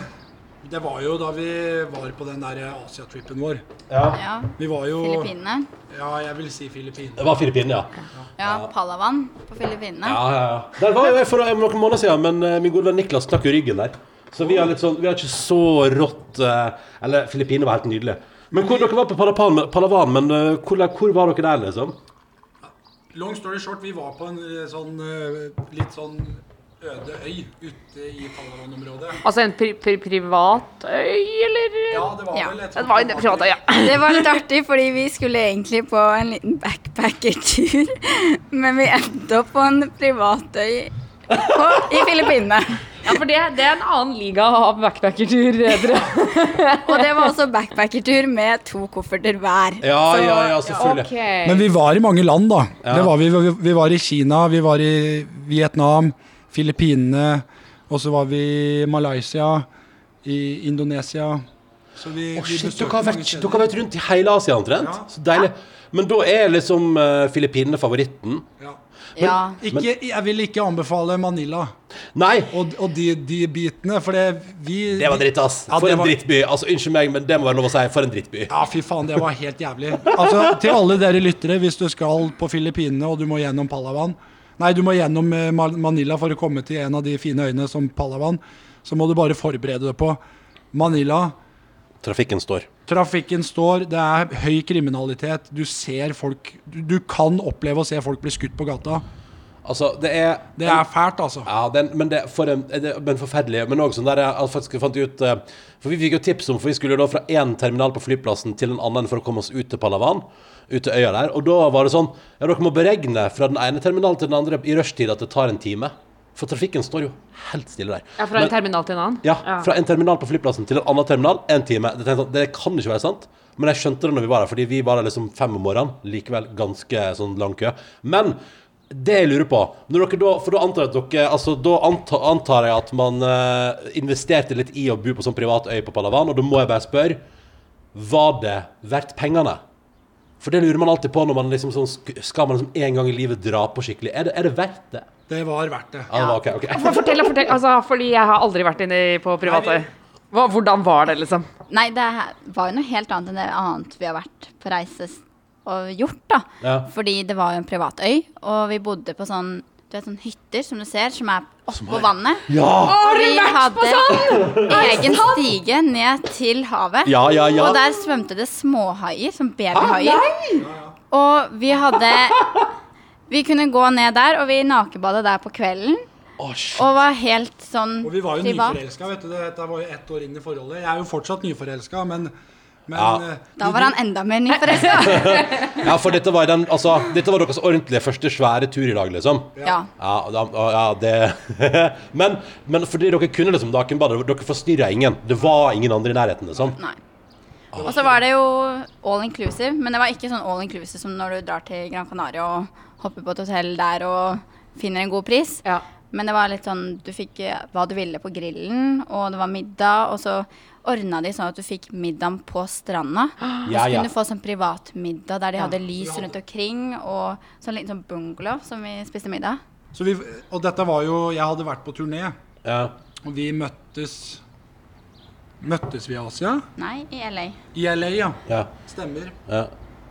E: det var jo da vi var på den der eh, Asia-trippen vår.
F: Ja,
E: Vi var jo
F: Filippinene.
E: Ja, jeg vil si Filippinene.
C: Det var Filippinene, ja.
F: Ja, Palawan på Filippinene.
C: Ja, ja, ja. Der var jo jeg for noen måneder siden, men eh, min gode venn Niklas knakk jo ryggen der. Så vi har, litt sånn, vi har ikke så rått eh, Eller Filippinene var helt nydelig. Men hvor, Dere var på Palapan, Palavan, men eh, hvor, hvor var dere der, liksom?
E: Long story short, vi var på en eh, sånn eh, litt sånn øde øy ute i Palawan-området.
D: Altså en pri pri privat øy, eller?
E: Ja, det var
F: Ja,
E: vel et
D: Det
E: sånt
D: var jo en privat øy, ja.
F: Det var litt artig, fordi vi skulle egentlig på en liten backpackertur, men vi endte opp på en privatøy på, i Filippinene.
D: ja for det, det er en annen liga av backpackertur. eh, dere.
F: Og det var også backpackertur med to kofferter hver.
C: Ja,
F: Så-
C: ja, ja, selvfølgelig.
D: Ok.
E: Men vi var i mange land, da. Det var vi, vi, vi var i Kina, vi var i Vietnam, Filippinene, og så var vi i Malaysia, i Indonesia. Så vi,
C: Å,
E: vi
C: shit,
E: besøkte
C: dere har,
E: mange
C: vært,
E: steder.
C: dere har vært rundt i hele Asia omtrent? Så deilig. Men da er liksom eh, Filippinene favoritten?
E: Ja.
F: Ja.
E: Ikke, jeg vil ikke anbefale Manila
C: Nei!
E: og, og de, de bitene, for det vi
C: Det var dritt, ass.
E: Ja,
C: For
E: det
C: en
E: var-
C: drittby. Altså, Unnskyld meg, men det må være lov å si. For en drittby.
E: Ja, fy faen, det var helt jævlig. Altså, Til alle dere lyttere, hvis du skal på Filippinene og du må gjennom Palawan Nei, du må gjennom eh, Ma- Manila for å komme til en av de fine øyene som Palawan. Så må du bare forberede deg på Manila.
C: Trafikken står.
E: Trafikken står, det er høy kriminalitet. Du ser folk Du, du kan oppleve å se folk bli skutt på gata.
C: Altså, det er
E: Det er fælt, altså.
C: Ja, den, men det for en, det, men forferdelig. Men også sånn der jeg faktisk fant ut eh, For vi fikk jo tips om For vi skulle jo da fra én terminal på flyplassen til en annen for å komme oss ut til Palawan. Ut til øya der. Og da var det sånn Ja, dere må beregne fra den ene terminalen til den andre i rushtid at det tar en time. For trafikken står jo helt stille der.
D: Ja, fra en
C: Men-
D: terminal til en annen?
C: Ja, fra en terminal på flyplassen til en annen terminal, en time. Det, tenkte, jeg sånn, det kan ikke være sant. Men jeg skjønte det når vi var der, fordi vi var der liksom fem om morgenen. Likevel ganske sånn lang kø. Men det jeg lurer på når dere da, For da antar jeg at dere altså, Da antar, antar jeg at man eh, investerte litt i å bo på sånn privat øy på Palawan, og da må jeg bare spørre Var det verdt pengene? For det lurer man alltid på når man liksom sånn sk- Skal man liksom en gang i livet dra på skikkelig? Er det, er det verdt det?
E: Det var verdt det.
C: Ja, det var ok, ok.
D: For- Fortell, fortell. Altså, fordi jeg har aldri vært inne på private. Hva, hvordan var det, liksom?
F: Nei, det her var jo noe helt annet enn det annet vi har vært på reise s- og gjort, da.
C: Ja.
F: Fordi det var jo en privat øy, og vi bodde på sånn du vet, sånne hytter som du ser, som er oppå vannet.
C: Ja!
F: Har du vært på sånn? Egen stige ned til havet.
C: Ja, ja, ja.
F: Og der svømte det småhaier, som babyhaier. Og vi hadde Vi kunne gå ned der, og vi nakenbadet der på kvelden.
C: Å, shit.
F: Og var helt sånn
E: Og vi var jo
F: privat.
E: nyforelska, vet du. Dette var jo ett år inn i forholdet. Jeg er jo fortsatt nyforelska, men, men
C: Ja.
E: eh,
F: Da var han enda mer nyforelska.
C: ja, for dette var, den, altså, dette var deres ordentlige første svære tur i dag, liksom.
F: Ja.
C: Ja, og da, og ja det men, men fordi dere kunne liksom nakenbade, dere forstyrra ingen. Det var ingen andre i nærheten, liksom.
F: Nei. Og så var det jo all inclusive, men det var ikke sånn all inclusive som når du drar til Gran Canaria og hopper på et hotell der og finner en god pris.
D: Ja.
F: Men det var litt sånn, du fikk eh, hva du ville på grillen, og det var middag, og så ordna de sånn at du fikk middagen på stranda. Og
C: Ja,
F: så
C: ja.
F: kunne du få sånn privatmiddag der de hadde lys rundt omkring, og sånn liten sånn bungalow som vi spiste middag.
E: så vi, og dette var jo Jeg hadde vært på turné,
C: Ja.
E: og vi møttes Møttes vi i Asia?
F: Nei, i LA.
E: I LA, ja.
C: Ja.
E: Stemmer.
C: Ja.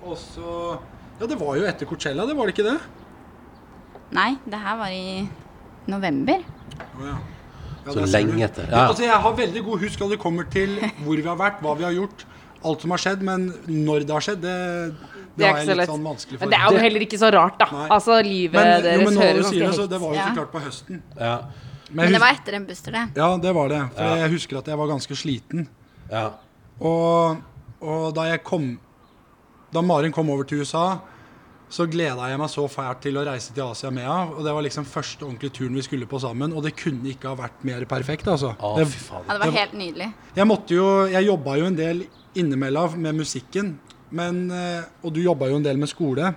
E: Og så Ja, det var jo etter Coachella, det var det ikke det?
F: Nei, det her var i november.
E: Å, ja. Ja,
C: Så
E: der ser
C: lenge
E: du.
C: etter,
E: Ja.
C: ja.
E: Altså, jeg har veldig god husk når det kommer til hvor vi har vært, hva vi har gjort, alt som har skjedd, men når det har skjedd, det, det,
D: Det er
E: har
D: ikke så
E: jeg litt
D: lett.
E: sånn
D: Men
E: vanskelig for.
D: det er jo heller ikke så rart, da.
E: Nei.
D: Altså, livet
E: Men- jo,
D: deres
E: men nå
D: hører
E: du sier det,
D: ganske
E: så det var jo
F: Ja.
E: så klart på høsten.
C: Ja.
F: Men det
E: hus-
F: var etter en busstur, det.
E: ja, det var det. For jeg husker at jeg var ganske sliten.
C: ja.
E: Og, og da jeg kom Da Maren kom over til USA, så gleda jeg meg så fælt til å reise til Asia med henne. Og det var liksom første ordentlige turen vi skulle på sammen. Og det kunne ikke ha vært mer perfekt, altså.
C: Å,
E: det,
C: fy faen.
F: Ja, det var helt nydelig.
E: jeg måtte jo Jeg jobba jo en del innimellom med musikken. Men, eh, og du jobba jo en del med skole.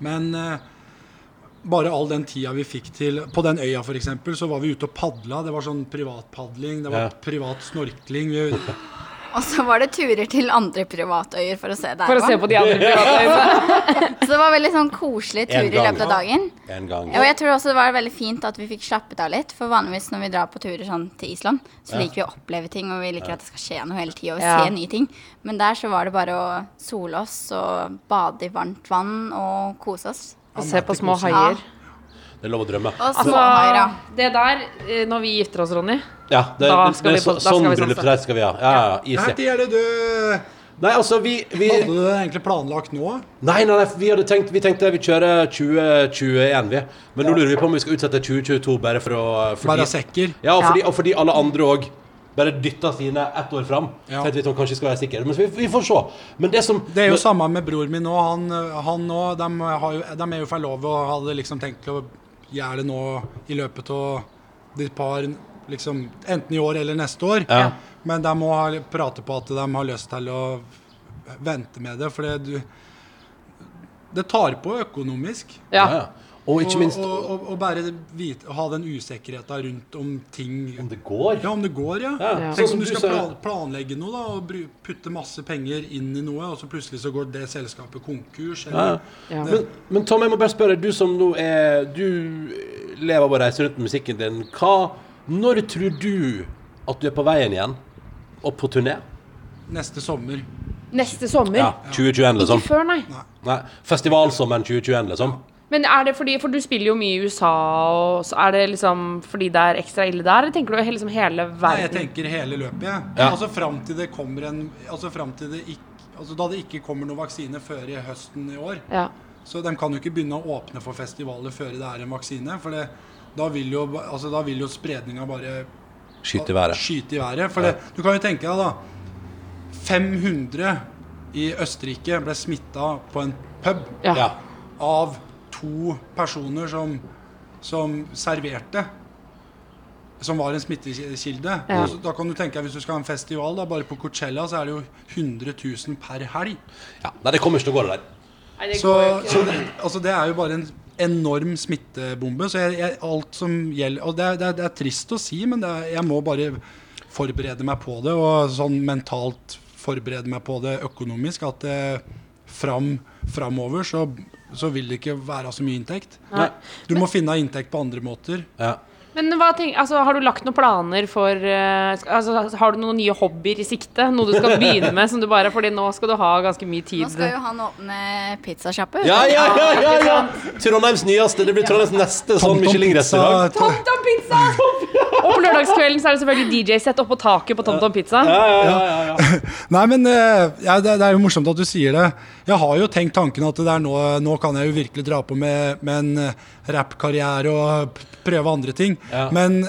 E: Men eh, bare all den tida vi fikk til På den øya, f.eks., så var vi ute og padla. Det var sånn privatpadling, det var
C: Ja.
E: privat snorkling. Vi,
F: Og så var det turer til andre privatøyer for å se der
D: For å se
F: også.
D: på de andre private liksom. øyene.
F: Så det var veldig sånn
C: En
F: koselige turer i
C: gang.
F: løpet av dagen.
C: En gang.
F: Og jeg tror også det var veldig fint at vi fikk slappet av litt. For vanligvis når vi drar på turer sånn til Island, så liker vi å oppleve ting, og vi liker at det skal skje noe hele tida, og vi
D: Ja.
F: ser nye ting. Men der så var det bare å sole oss og bade i varmt vann og kose oss.
D: Og se på små
F: Ja.
D: haier.
C: Det er lov å drømme.
F: Og
D: Altså,
F: småhaier, ja.
D: det der eh, Når vi gifter oss, Ronny
C: Ja, det,
D: Da
C: det-
D: skal
C: det,
D: vi
C: så,
D: på- da skal
C: sånn
D: vi satse.
C: bryllupsreise skal vi ha. Ja, ja, ja,
E: Her
C: easy.
E: er det du
C: Nei, altså, vi, vi
E: Hadde du det egentlig planlagt nå?
C: Nei, nei, nei vi, hadde tenkt, vi tenkte vi kjører 2021, vi. Men nå lurer vi på om vi skal utsette 2022 bare for å fordi-
E: Være sikker.
C: Ja, og
D: Ja.
C: fordi, og fordi alle andre òg bare dytta sine ett år fram.
E: Ja.
C: Tenkte vi sånn, kanskje vi skal være sikre. Men vi, vi får se. Men det som
E: Det er
C: men,
E: jo samme med bror min nå. Han, han nå, de, har jo, de er jo forlovet og hadde liksom tenkt å gjøre det nå i løpet av de par liksom, Enten i år eller neste år.
C: Ja.
E: Men de må ha, prate på at de har lyst til å vente med det, for det, du, det tar på økonomisk.
D: Ja.
C: ja. Og ikke minst
E: Og, og, og bare vite, ha den usikkerheten rundt om ting
C: om det går.
E: Ja, om det går, ja.
C: Ja. Sånn
E: Tenk om
C: som
E: du
C: du
E: skal
C: sa-
E: plan planlegge noe da, og bru- putte masse penger inn i noe, og så plutselig så går det selskapet konkurs. Eller,
D: Ja.
C: Men, men Tom, jeg må bare spørre. Du som nå er Du lever av å reise rundt med musikken din. Hva Når tror du at du er på veien igjen? Og på turné?
E: Neste sommer.
D: Neste sommer.
C: Ja. 2021,
D: Ikke
C: liksom.
D: før, nei.
C: Nei, Festivalsommeren 2021, liksom.
D: Men er det fordi For du spiller jo mye i USA, og så er det liksom fordi det er ekstra ille der? Eller tenker du he- liksom hele
E: Nei, jeg
D: verden?
E: tenker hele løpet, jeg.
C: Ja.
E: Altså fram til det kommer en Altså fram til det ikke Altså Da det ikke kommer noen vaksine før i høsten i år.
D: Ja.
E: Så de kan jo ikke begynne å åpne for festivaler før det er en vaksine. For det, da vil jo, ba- altså, da vil jo spredninga bare
C: Skyt i været.
E: skyte i været. For det, du kan jo tenke deg, da. 500 i Østerrike ble smitta på en pub
D: Ja.
C: Ja.
E: av to personer som, som serverte. Som var en smittekilde.
D: Ja.
E: Så Da kan du tenke deg, Hvis du skal ha en festival, da, bare på Coachella, så er det jo 100 000 per helg.
C: ja. Nei, det kommer ikke til å gå, det der.
D: Nei, det
E: Så,
D: går jo ikke.
E: så det, altså det er jo bare en enorm smittebombe. Så jeg, jeg, alt som gjelder Og det, er- det, er- det er trist å si, men det er, jeg må bare forberede meg på det. Og sånn mentalt forberede meg på det økonomisk. At det, fram, framover, så, så vil det ikke være så mye inntekt.
C: Nei.
E: Du må finne inntekt på andre måter.
C: Ja.
D: Men hva tenk, altså, har du lagt noen planer for eh, sk- altså, Har du noen nye hobbyer i sikte? Noe du skal begynne med? Som du bare, fordi nå skal du ha ganske mye tid.
F: Nå skal jo han åpne pizzasjappe.
C: Ja, ja, ja, ja, ja. Trondheims nyeste. Det blir Trondheims neste sånn Michelin-restaurant.
E: Tom-
D: TomTom Pizza! Og på lørdagskvelden så er det selvfølgelig DJ-sett oppå taket på TomTom Pizza.
C: Ja, ja, ja, ja, ja.
E: Nei, men eh, ja, det, det er jo morsomt at du sier det. Jeg har jo tenkt tanken at det der nå, nå kan jeg jo virkelig dra på med, med en eh, rappkarriere og p- prøve andre ting.
C: Ja.
E: Men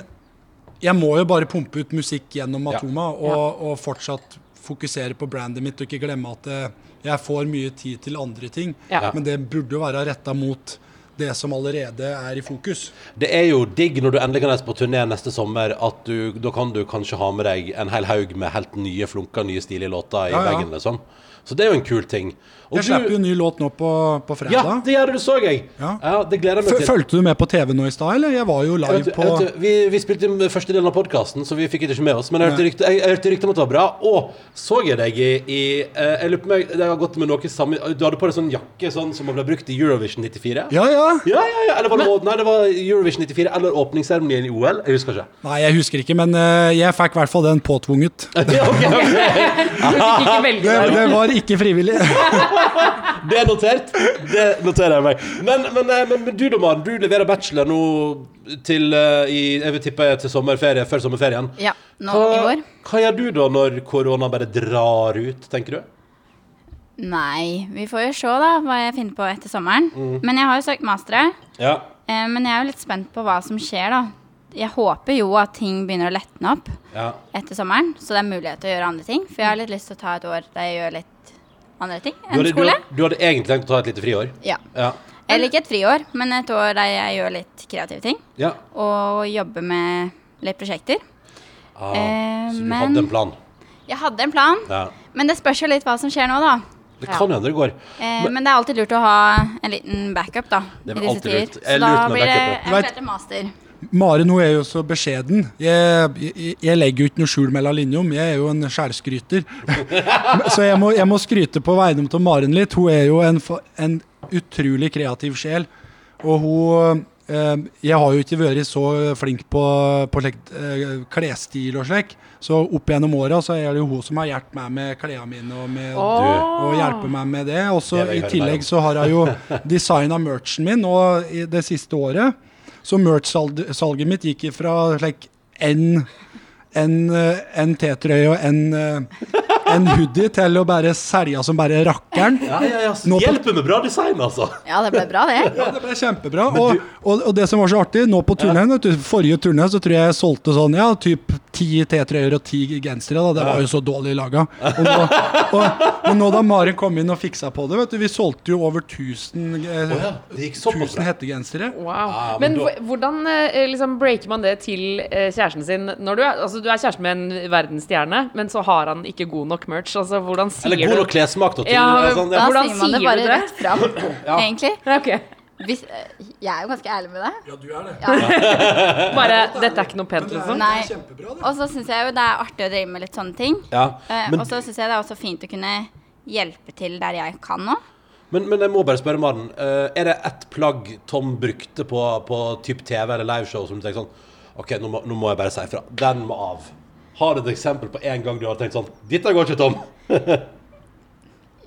E: jeg må jo bare pumpe ut musikk gjennom
C: Ja.
E: Matoma og, og fortsatt fokusere på brandet mitt og ikke glemme at eh, jeg får mye tid til andre ting.
D: Ja.
E: Men det burde jo være retta mot det som allerede er i fokus.
C: Det er jo digg når du endelig kan reise på turné neste sommer, at du, da kan du kanskje ha med deg en hel haug med helt nye, flunka, nye, stilige låter i
E: Ja, ja.
C: veggen, liksom. Så det er jo en kul ting. Og
E: Jeg slipper jo ny låt nå på, på
C: Ja,
E: fredag.
C: det gjør det, det så jeg. Ja,
E: Ja.
C: det gleder jeg meg
E: F-
C: til.
E: Fulgte du med på TV nå i stad, eller? Jeg var jo
C: Jeg
E: live
C: vet-
E: på
C: jeg vet- vi, vi spilte inn første delen av podkasten, så vi fikk det ikke med oss. Men jeg hørte rykte, jeg, jeg hørte rykte om at det var bra. Og så jeg deg i, i eh, Jeg lurer på meg, det har gått med noe samme Du hadde på deg sånn jakke sånn, som ble brukt i Eurovision 94?
E: Ja, ja.
C: Ja, ja, ja. Eller var det, nei, det var Eurovision 94 eller åpningsseremonien i OL. Jeg husker ikke.
E: Nei, jeg husker ikke, men eh, jeg fikk i hvert fall den påtvunget.
C: Ja, ok, ok.
D: Du fikk ikke velge
E: Det,
D: der.
E: det var ikke frivillig.
C: Det er notert. Det noterer jeg meg. Men, men, eh, men, men du, da, Maren. Du leverer bachelor nå til eh, i, Jeg vil tippe til sommerferie, før sommerferien.
F: Ja, nå
C: hva,
F: i år.
C: Hva gjør du da, når korona bare drar ut, tenker du?
F: Nei, vi får jo se da hva jeg finner på etter sommeren.
C: Mm.
F: Men jeg har jo søkt mastere.
C: Ja.
F: Eh, men jeg er jo litt spent på hva som skjer, da. Jeg håper jo at ting begynner å letne opp
C: ja.
F: etter sommeren, så det er mulighet til å gjøre andre ting. For jeg har litt lyst til å ta et år der jeg gjør litt andre ting
C: Du,
F: enn
C: hadde, du,
F: skole.
C: hadde, du hadde egentlig tenkt å ta et lite friår?
F: Ja.
C: Ja.
F: Eller ikke et friår, men et år der jeg gjør litt kreative ting.
C: ja.
F: Og jobber med litt prosjekter.
C: Ah,
F: Eh,
C: så du
F: men-
C: hadde en plan?
F: Jeg hadde en plan,
C: Ja.
F: men det spørs jo litt hva som skjer nå, da.
C: Det kan hende det går.
F: Eh, men, det er alltid lurt å ha en liten backup, da.
C: Det er
F: i
C: vel
F: disse
C: alltid
F: tider.
C: lurt. Jeg
F: Så
C: er
F: da
C: lurt med
F: blir det
C: backup,
E: ja.
F: eventuelt en master.
E: Mare nå er jo så beskjeden. Jeg, jeg, jeg legger jo ikke noe skjul mellom linjene. om. Jeg er jo en sjælskryter. Så jeg må, jeg må skryte på vegne av Maren litt. Hun er jo en, fa- en utrolig kreativ sjel. Og hun eh, Jeg har jo ikke vært så flink på, på slikt, eh, klesstil og slik, så opp gjennom åra så er det jo hun som har hjulpet meg med klærne mine og med og hjelpe meg med det. Og så
C: Det vil jeg
E: i
C: høre mer
E: tillegg
C: om.
E: så har jeg jo designa merchen min nå i det siste året. Så merch-salget mitt gikk fra like, en, en, eh, en T-trøye og en, eh, en hoodie til å bare selge som bare rakkeren.
C: Ja, ja, ja.
E: Nå på-
C: Hjelper med bra design, altså.
F: Ja, det ble bra, det.
E: Ja, det ble kjempebra. Og, og, og det som var så artig, nå på turneen, vet du, forrige turné, så tror jeg jeg solgte sånn ja, typ ti T-trøyer og ti gensere. da, Det var jo så dårlig laga. Og nå, og, men nå da Maren kom inn og fiksa på det, vet du, vi solgte jo over 1000 eh,
C: Å ja, det gikk såpass
E: 1000
C: bra.
E: hettegensere.
D: Wow.
C: Ja, men
D: men
C: da-
D: hvor- hvordan eh, liksom breaker man det til eh, kjæresten sin når du er, altså, du er kjæreste med en verdensstjerne, men så har han ikke god nok merch? Altså, hvordan sier
C: Eller god
D: du
C: nok klessmak, da. Til,
D: Ja,
C: eh,
D: men-
C: sånn,
F: Da
C: ja.
D: Hvordan
F: sier man det
D: sier
F: bare
D: du det?
F: rett fram, egentlig.
D: Ja, ok.
F: Hvis, eh, jeg er jo ganske ærlig med deg.
D: Bare 'dette er ikke noe pent',
E: eh,
D: liksom?
F: Nei. Og så syns jeg jo det er artig å drive med litt sånne ting.
C: ja.
F: Eh,
C: Men
F: og så syns jeg det er også fint å kunne hjelpe til der jeg kan nå.
C: Men, men jeg må bare spørre, Maren. eh, er det ett plagg Tom brukte på, på typ TV eller liveshow som du tenker sånn OK, nå må, nå må jeg bare si ifra. Den må av. Har du et eksempel på en gang du har tenkt sånn Dette går ikke, Tom.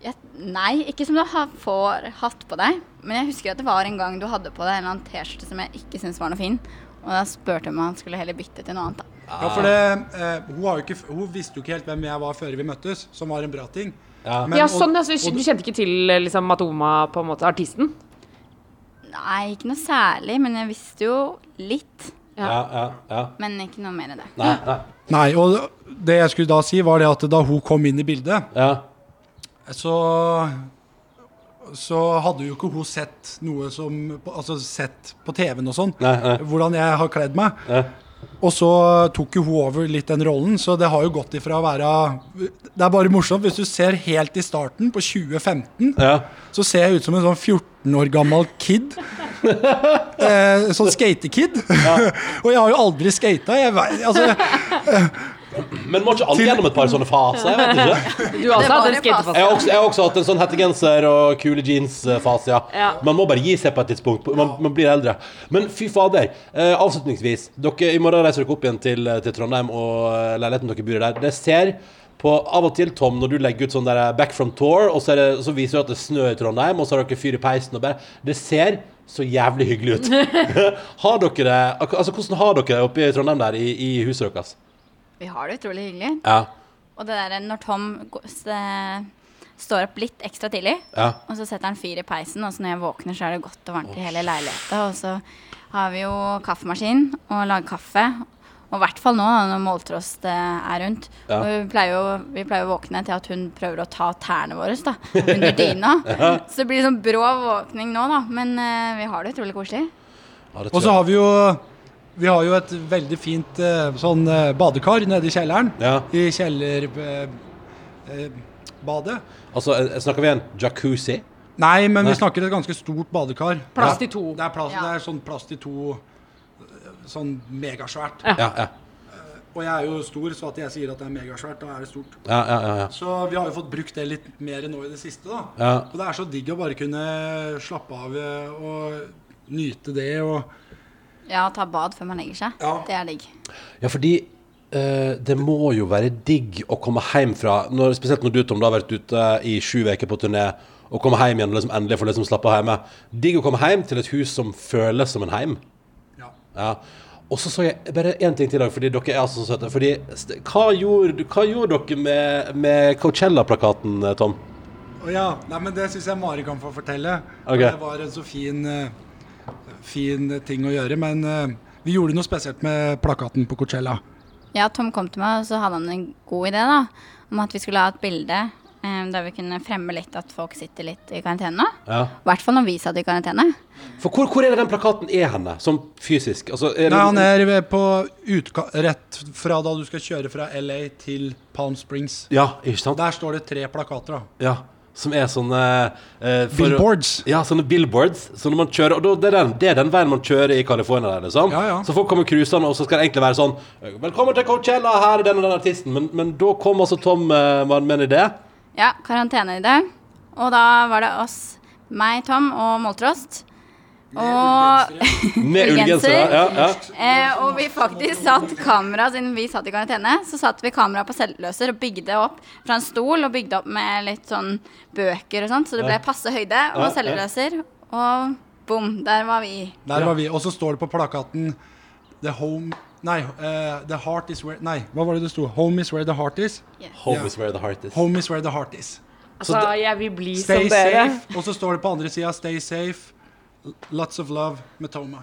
F: Jeg, nei, ikke som du har, får hatt på deg. Men jeg husker at det var en gang du hadde på deg en eller annen T-skjorte som jeg ikke syntes var noe fin. Og da spurte jeg om han skulle heller bytte til noe annet. da.
E: Ja,
C: Ah.
E: for det, eh, hun, har jo ikke, hun visste jo ikke helt hvem jeg var før vi møttes, som var en bra ting.
C: Ja.
E: Men-
D: Ja,
E: og-
D: sånn, altså,
E: og-
D: du kjente ikke til eh, liksom, Matoma, på en måte, artisten?
F: Nei, ikke noe særlig, men jeg visste jo litt.
C: Ja, ja, ja.
F: Men ikke noe mer enn det.
C: Nei, nei.
E: Nei, og det jeg skulle da si, var det at da hun kom inn i bildet,
C: Ja.
E: så så hadde jo ikke hun sett noe som Altså sett på TV-en og sånn,
C: Nei, nei.
E: hvordan jeg har kledd meg.
C: Ja.
E: Og så tok jo hun over litt den rollen, så det har jo gått ifra å være Det er bare morsomt. Hvis du ser helt i starten, på 2015,
C: ja.
E: så ser jeg ut som en sånn 14 år gammel kid. eh, sånn skatekid. og jeg har jo aldri skata. Jeg, vei- altså, eh,
C: Men må ikke alle gjennom et par sånne faser? Jeg vet ikke.
D: Du har også
F: var
D: hatt en
F: det
D: skatefase.
C: Jeg har også, jeg har også hatt en sånn hettegenser og kule jeans-fase, ja.
D: Ja.
C: Man må bare gi seg på et tidspunkt. Man, man blir eldre. Men fy fader. Eh, avslutningsvis. Dere, I morgen reiser dere opp igjen til, til Trondheim og eh, leiligheten dere bor i der. Det ser på av og til, Tom, når du legger ut sånn der eh, back from tour, og så, er det, så viser du at det snør i Trondheim, og så har dere fyr i peisen og bare Det ser så jævlig hyggelig ut. har dere det ak- Altså, hvordan har dere det oppe i Trondheim der, i, i huset deres?
F: Vi har det utrolig hyggelig.
C: Ja.
F: Og det der når Tom går- s- eh, står opp litt ekstra tidlig,
C: Ja.
F: og så setter han fyr i peisen, og så når jeg våkner, så er det godt og varmt i hele leiligheta. Og så har vi jo kaffemaskin og lager kaffe. Og i hvert fall nå da, når måltrost eh, er rundt.
C: Ja.
F: Og vi pleier, jo, vi pleier å våkne til at hun prøver å ta tærne våre da, under dyna. Så det blir sånn brå våkning nå, da. Men eh, vi har det utrolig koselig.
C: Ja, det tror
E: Og så
C: jeg.
E: har vi jo vi har jo et veldig fint eh, sånn eh, badekar nede i kjelleren.
C: Ja.
E: I eh, kjellerbadet.
C: Altså, eh, snakker vi en jacuzzi?
E: Nei, men
C: Nei.
E: vi snakker et ganske stort badekar.
D: Plass
E: Ja.
D: til to.
E: Det er, plass,
F: Ja.
E: det er sånn plass til to eh, Sånn megasvært.
C: Ja, ja.
E: Og jeg er jo stor, så at jeg sier at det er megasvært, da er det stort.
C: Ja, ja, ja, ja.
E: Så vi har jo fått brukt det litt mer nå i det siste, da.
C: Ja.
E: Og det er så digg å bare kunne slappe av eh, og nyte det og
F: Ja, ta bad før man legger seg. Det er digg.
C: Ja, fordi eh, det må jo være digg å komme hjem fra når, Spesielt når du, Tom, da har vært ute i sju uker på turné og komme hjem igjen og liksom endelig få liksom slappe av hjemme. Digg å komme hjem til et hus som føles som en heim.
E: Ja.
C: Ja. Og så så jeg bare én ting til i dag, fordi dere er altså så søte. Fordi, st- hva, gjorde, hva gjorde dere med, med Coachella-plakaten, eh, Tom?
E: Å ja. Nei, men det syns jeg Mari kan få fortelle.
C: Ok.
E: Det var en så fin, eh, fin ting å gjøre. Men eh, vi gjorde noe spesielt med plakaten på Coachella.
F: Ja, Tom kom til meg, og så hadde han en god idé da, om at vi skulle ha et bilde eh, der vi kunne fremme litt at folk sitter litt i karantene nå.
C: Ja.
F: I hvert fall når vi satt i karantene.
C: For hvor, hvor er det den plakaten er henne, sånn fysisk? Altså, er det,
E: Nei, han er ved- på utka rett fra da du skal kjøre fra LA til Palm Springs.
C: Ja, ikke sant?
E: Der står det tre plakater, da.
C: Ja, som er sånne eh, for-
E: Billboards.
C: Ja, sånne billboards. Så når man kjører, og da, det, er den, det er den veien man kjører i California. Der, liksom.
E: Ja, ja.
C: Så folk kommer cruisende, og så skal det egentlig være sånn Velkommen til Coachella, her er den og den artisten. Men, men da kom altså Tom eh, med med en idé.
F: Ja, karanteneidé. Og da var det oss, meg, Tom og Moltrost. Og,
C: Med
F: Ullgenser.
C: ullgenser. Ja, ja.
F: eh, og vi faktisk satt kamera, siden vi satt i karantene, så satt vi kamera på selvløser og bygde opp fra en stol og bygde opp med litt sånn bøker og sånt, så det ble passe høyde og
C: Ja, ja.
F: selvløser. Og bom, der var vi.
E: Der var vi. Og så står det på plakaten The home Nei, eh, the heart is where Nei, hva var det det sto? Home is where the heart is.
C: Home
E: Ja.
C: is where the heart is.
E: Home is where the heart is.
D: Altså, jeg vil bli som
E: Stay
D: dere.
E: safe. Og så står det på andre sida Stay safe. Lots of love med Toma.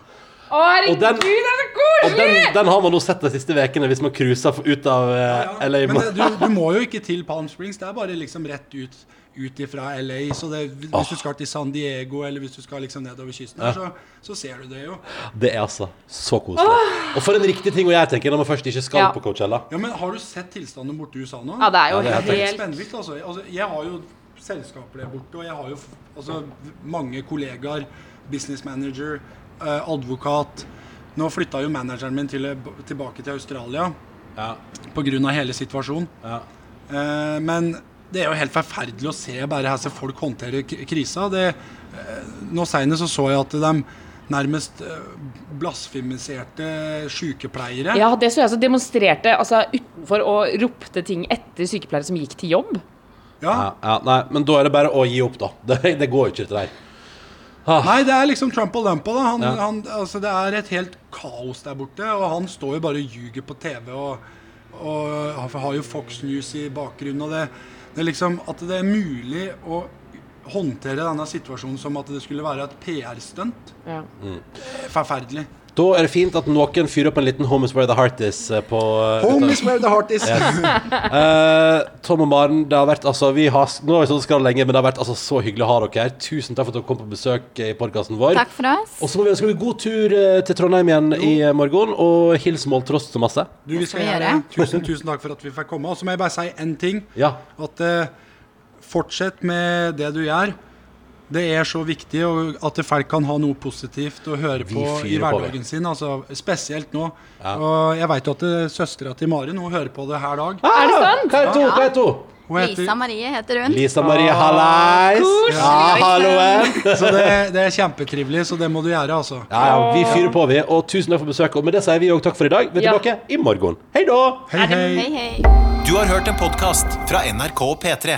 D: Å, herregud,
C: den-
D: det er så
C: Og
D: koselig!
C: den, den har man nå sett de siste ukene, hvis man cruiser f- ut av eh, LA.
E: Men det, du, du må jo ikke til Palm Springs. Det er bare liksom rett ut ut ifra LA. Så det, hvis du skal til San Diego, eller hvis du skal liksom nedover kysten, her, så, så ser du det jo.
C: Det er altså så koselig. Og for en riktig ting å gjøre, tenker jeg, når man først ikke skal
D: Ja.
C: på Coachella.
E: Ja, men har du sett tilstanden borte i USA nå?
D: Ja, det er jo
C: Ja, det er
D: helt
E: Spennvidt, altså. altså. Jeg har jo selskaper der borte, og jeg har jo f- altså, mange kollegaer. Business manager, eh, advokat. Nå flytta jo manageren min til, tilbake til Australia
C: Ja.
E: pga. hele situasjonen.
C: Ja.
E: Eh, men det er jo helt forferdelig å se bare her som folk håndterer k- krisa. Det, eh, nå seinest så, så jeg at de nærmest eh, blasfemiserte sykepleiere.
D: Ja, det så jeg som demonstrerte altså, utenfor og ropte ting etter sykepleiere som gikk til jobb.
E: Ja,
C: Ja, ja, nei, men da er det bare å gi opp, da. Det, det går jo ikke, dette der.
E: Nei, det er liksom Trump og Lumpa. da. Han,
C: Ja.
E: han, altså, det er et helt kaos der borte. Og han står jo bare og ljuger på TV og, og han har jo Fox News i bakgrunnen. Og det, det er liksom at det er mulig å håndtere denne situasjonen som at det skulle være et PR-stunt.
D: Ja.
E: Forferdelig.
C: Da er det fint at noen fyrer opp en liten Home is where the heart is eh, på eh,
E: Home
C: utover.
E: is where the heart is.
C: Eh, Tom og Maren, det har vært altså vi har, Nå har vi stått og skravlet lenge, men det har vært altså, så hyggelig å ha dere her. Tusen takk for at dere kom på besøk eh, i podkasten vår.
F: Takk for oss.
C: Og så må vi ønske dere god tur eh, til Trondheim igjen i eh, morgen, og hils Måltrost så masse.
E: Du, vi skal
F: vi
E: gjøre
F: gjøre.
E: Tusen, tusen takk for at vi fikk komme. Og så må jeg bare si én ting.
C: Ja.
E: At eh, fortsett med det du gjør. Det er så viktig og at folk kan ha noe positivt å høre
C: Vi
E: på i
C: fyrer på, vi.
E: hverdagen sin. Altså, spesielt nå. Og jeg veit at eh, søstera til Maren hun hører på det her dag.
C: Ah,
D: det sant?
C: Hva er to? Hva er to?
E: Hun
F: Lisa Marie heter hun.
C: Lisa Marie, hallais! Ja, halloen!
E: Så det, det er kjempetrivelig, så det må du gjøre, altså.
C: Ja, ja, vi fyrer på, vi. Og tusen takk for besøket. Og med det sier vi òg takk for i dag. Vi er
D: Ja.
C: tilbake i morgen. Hei da!
E: Hei, hei.
F: Hei, hei.
A: Du har hørt en podkast fra NRK P3.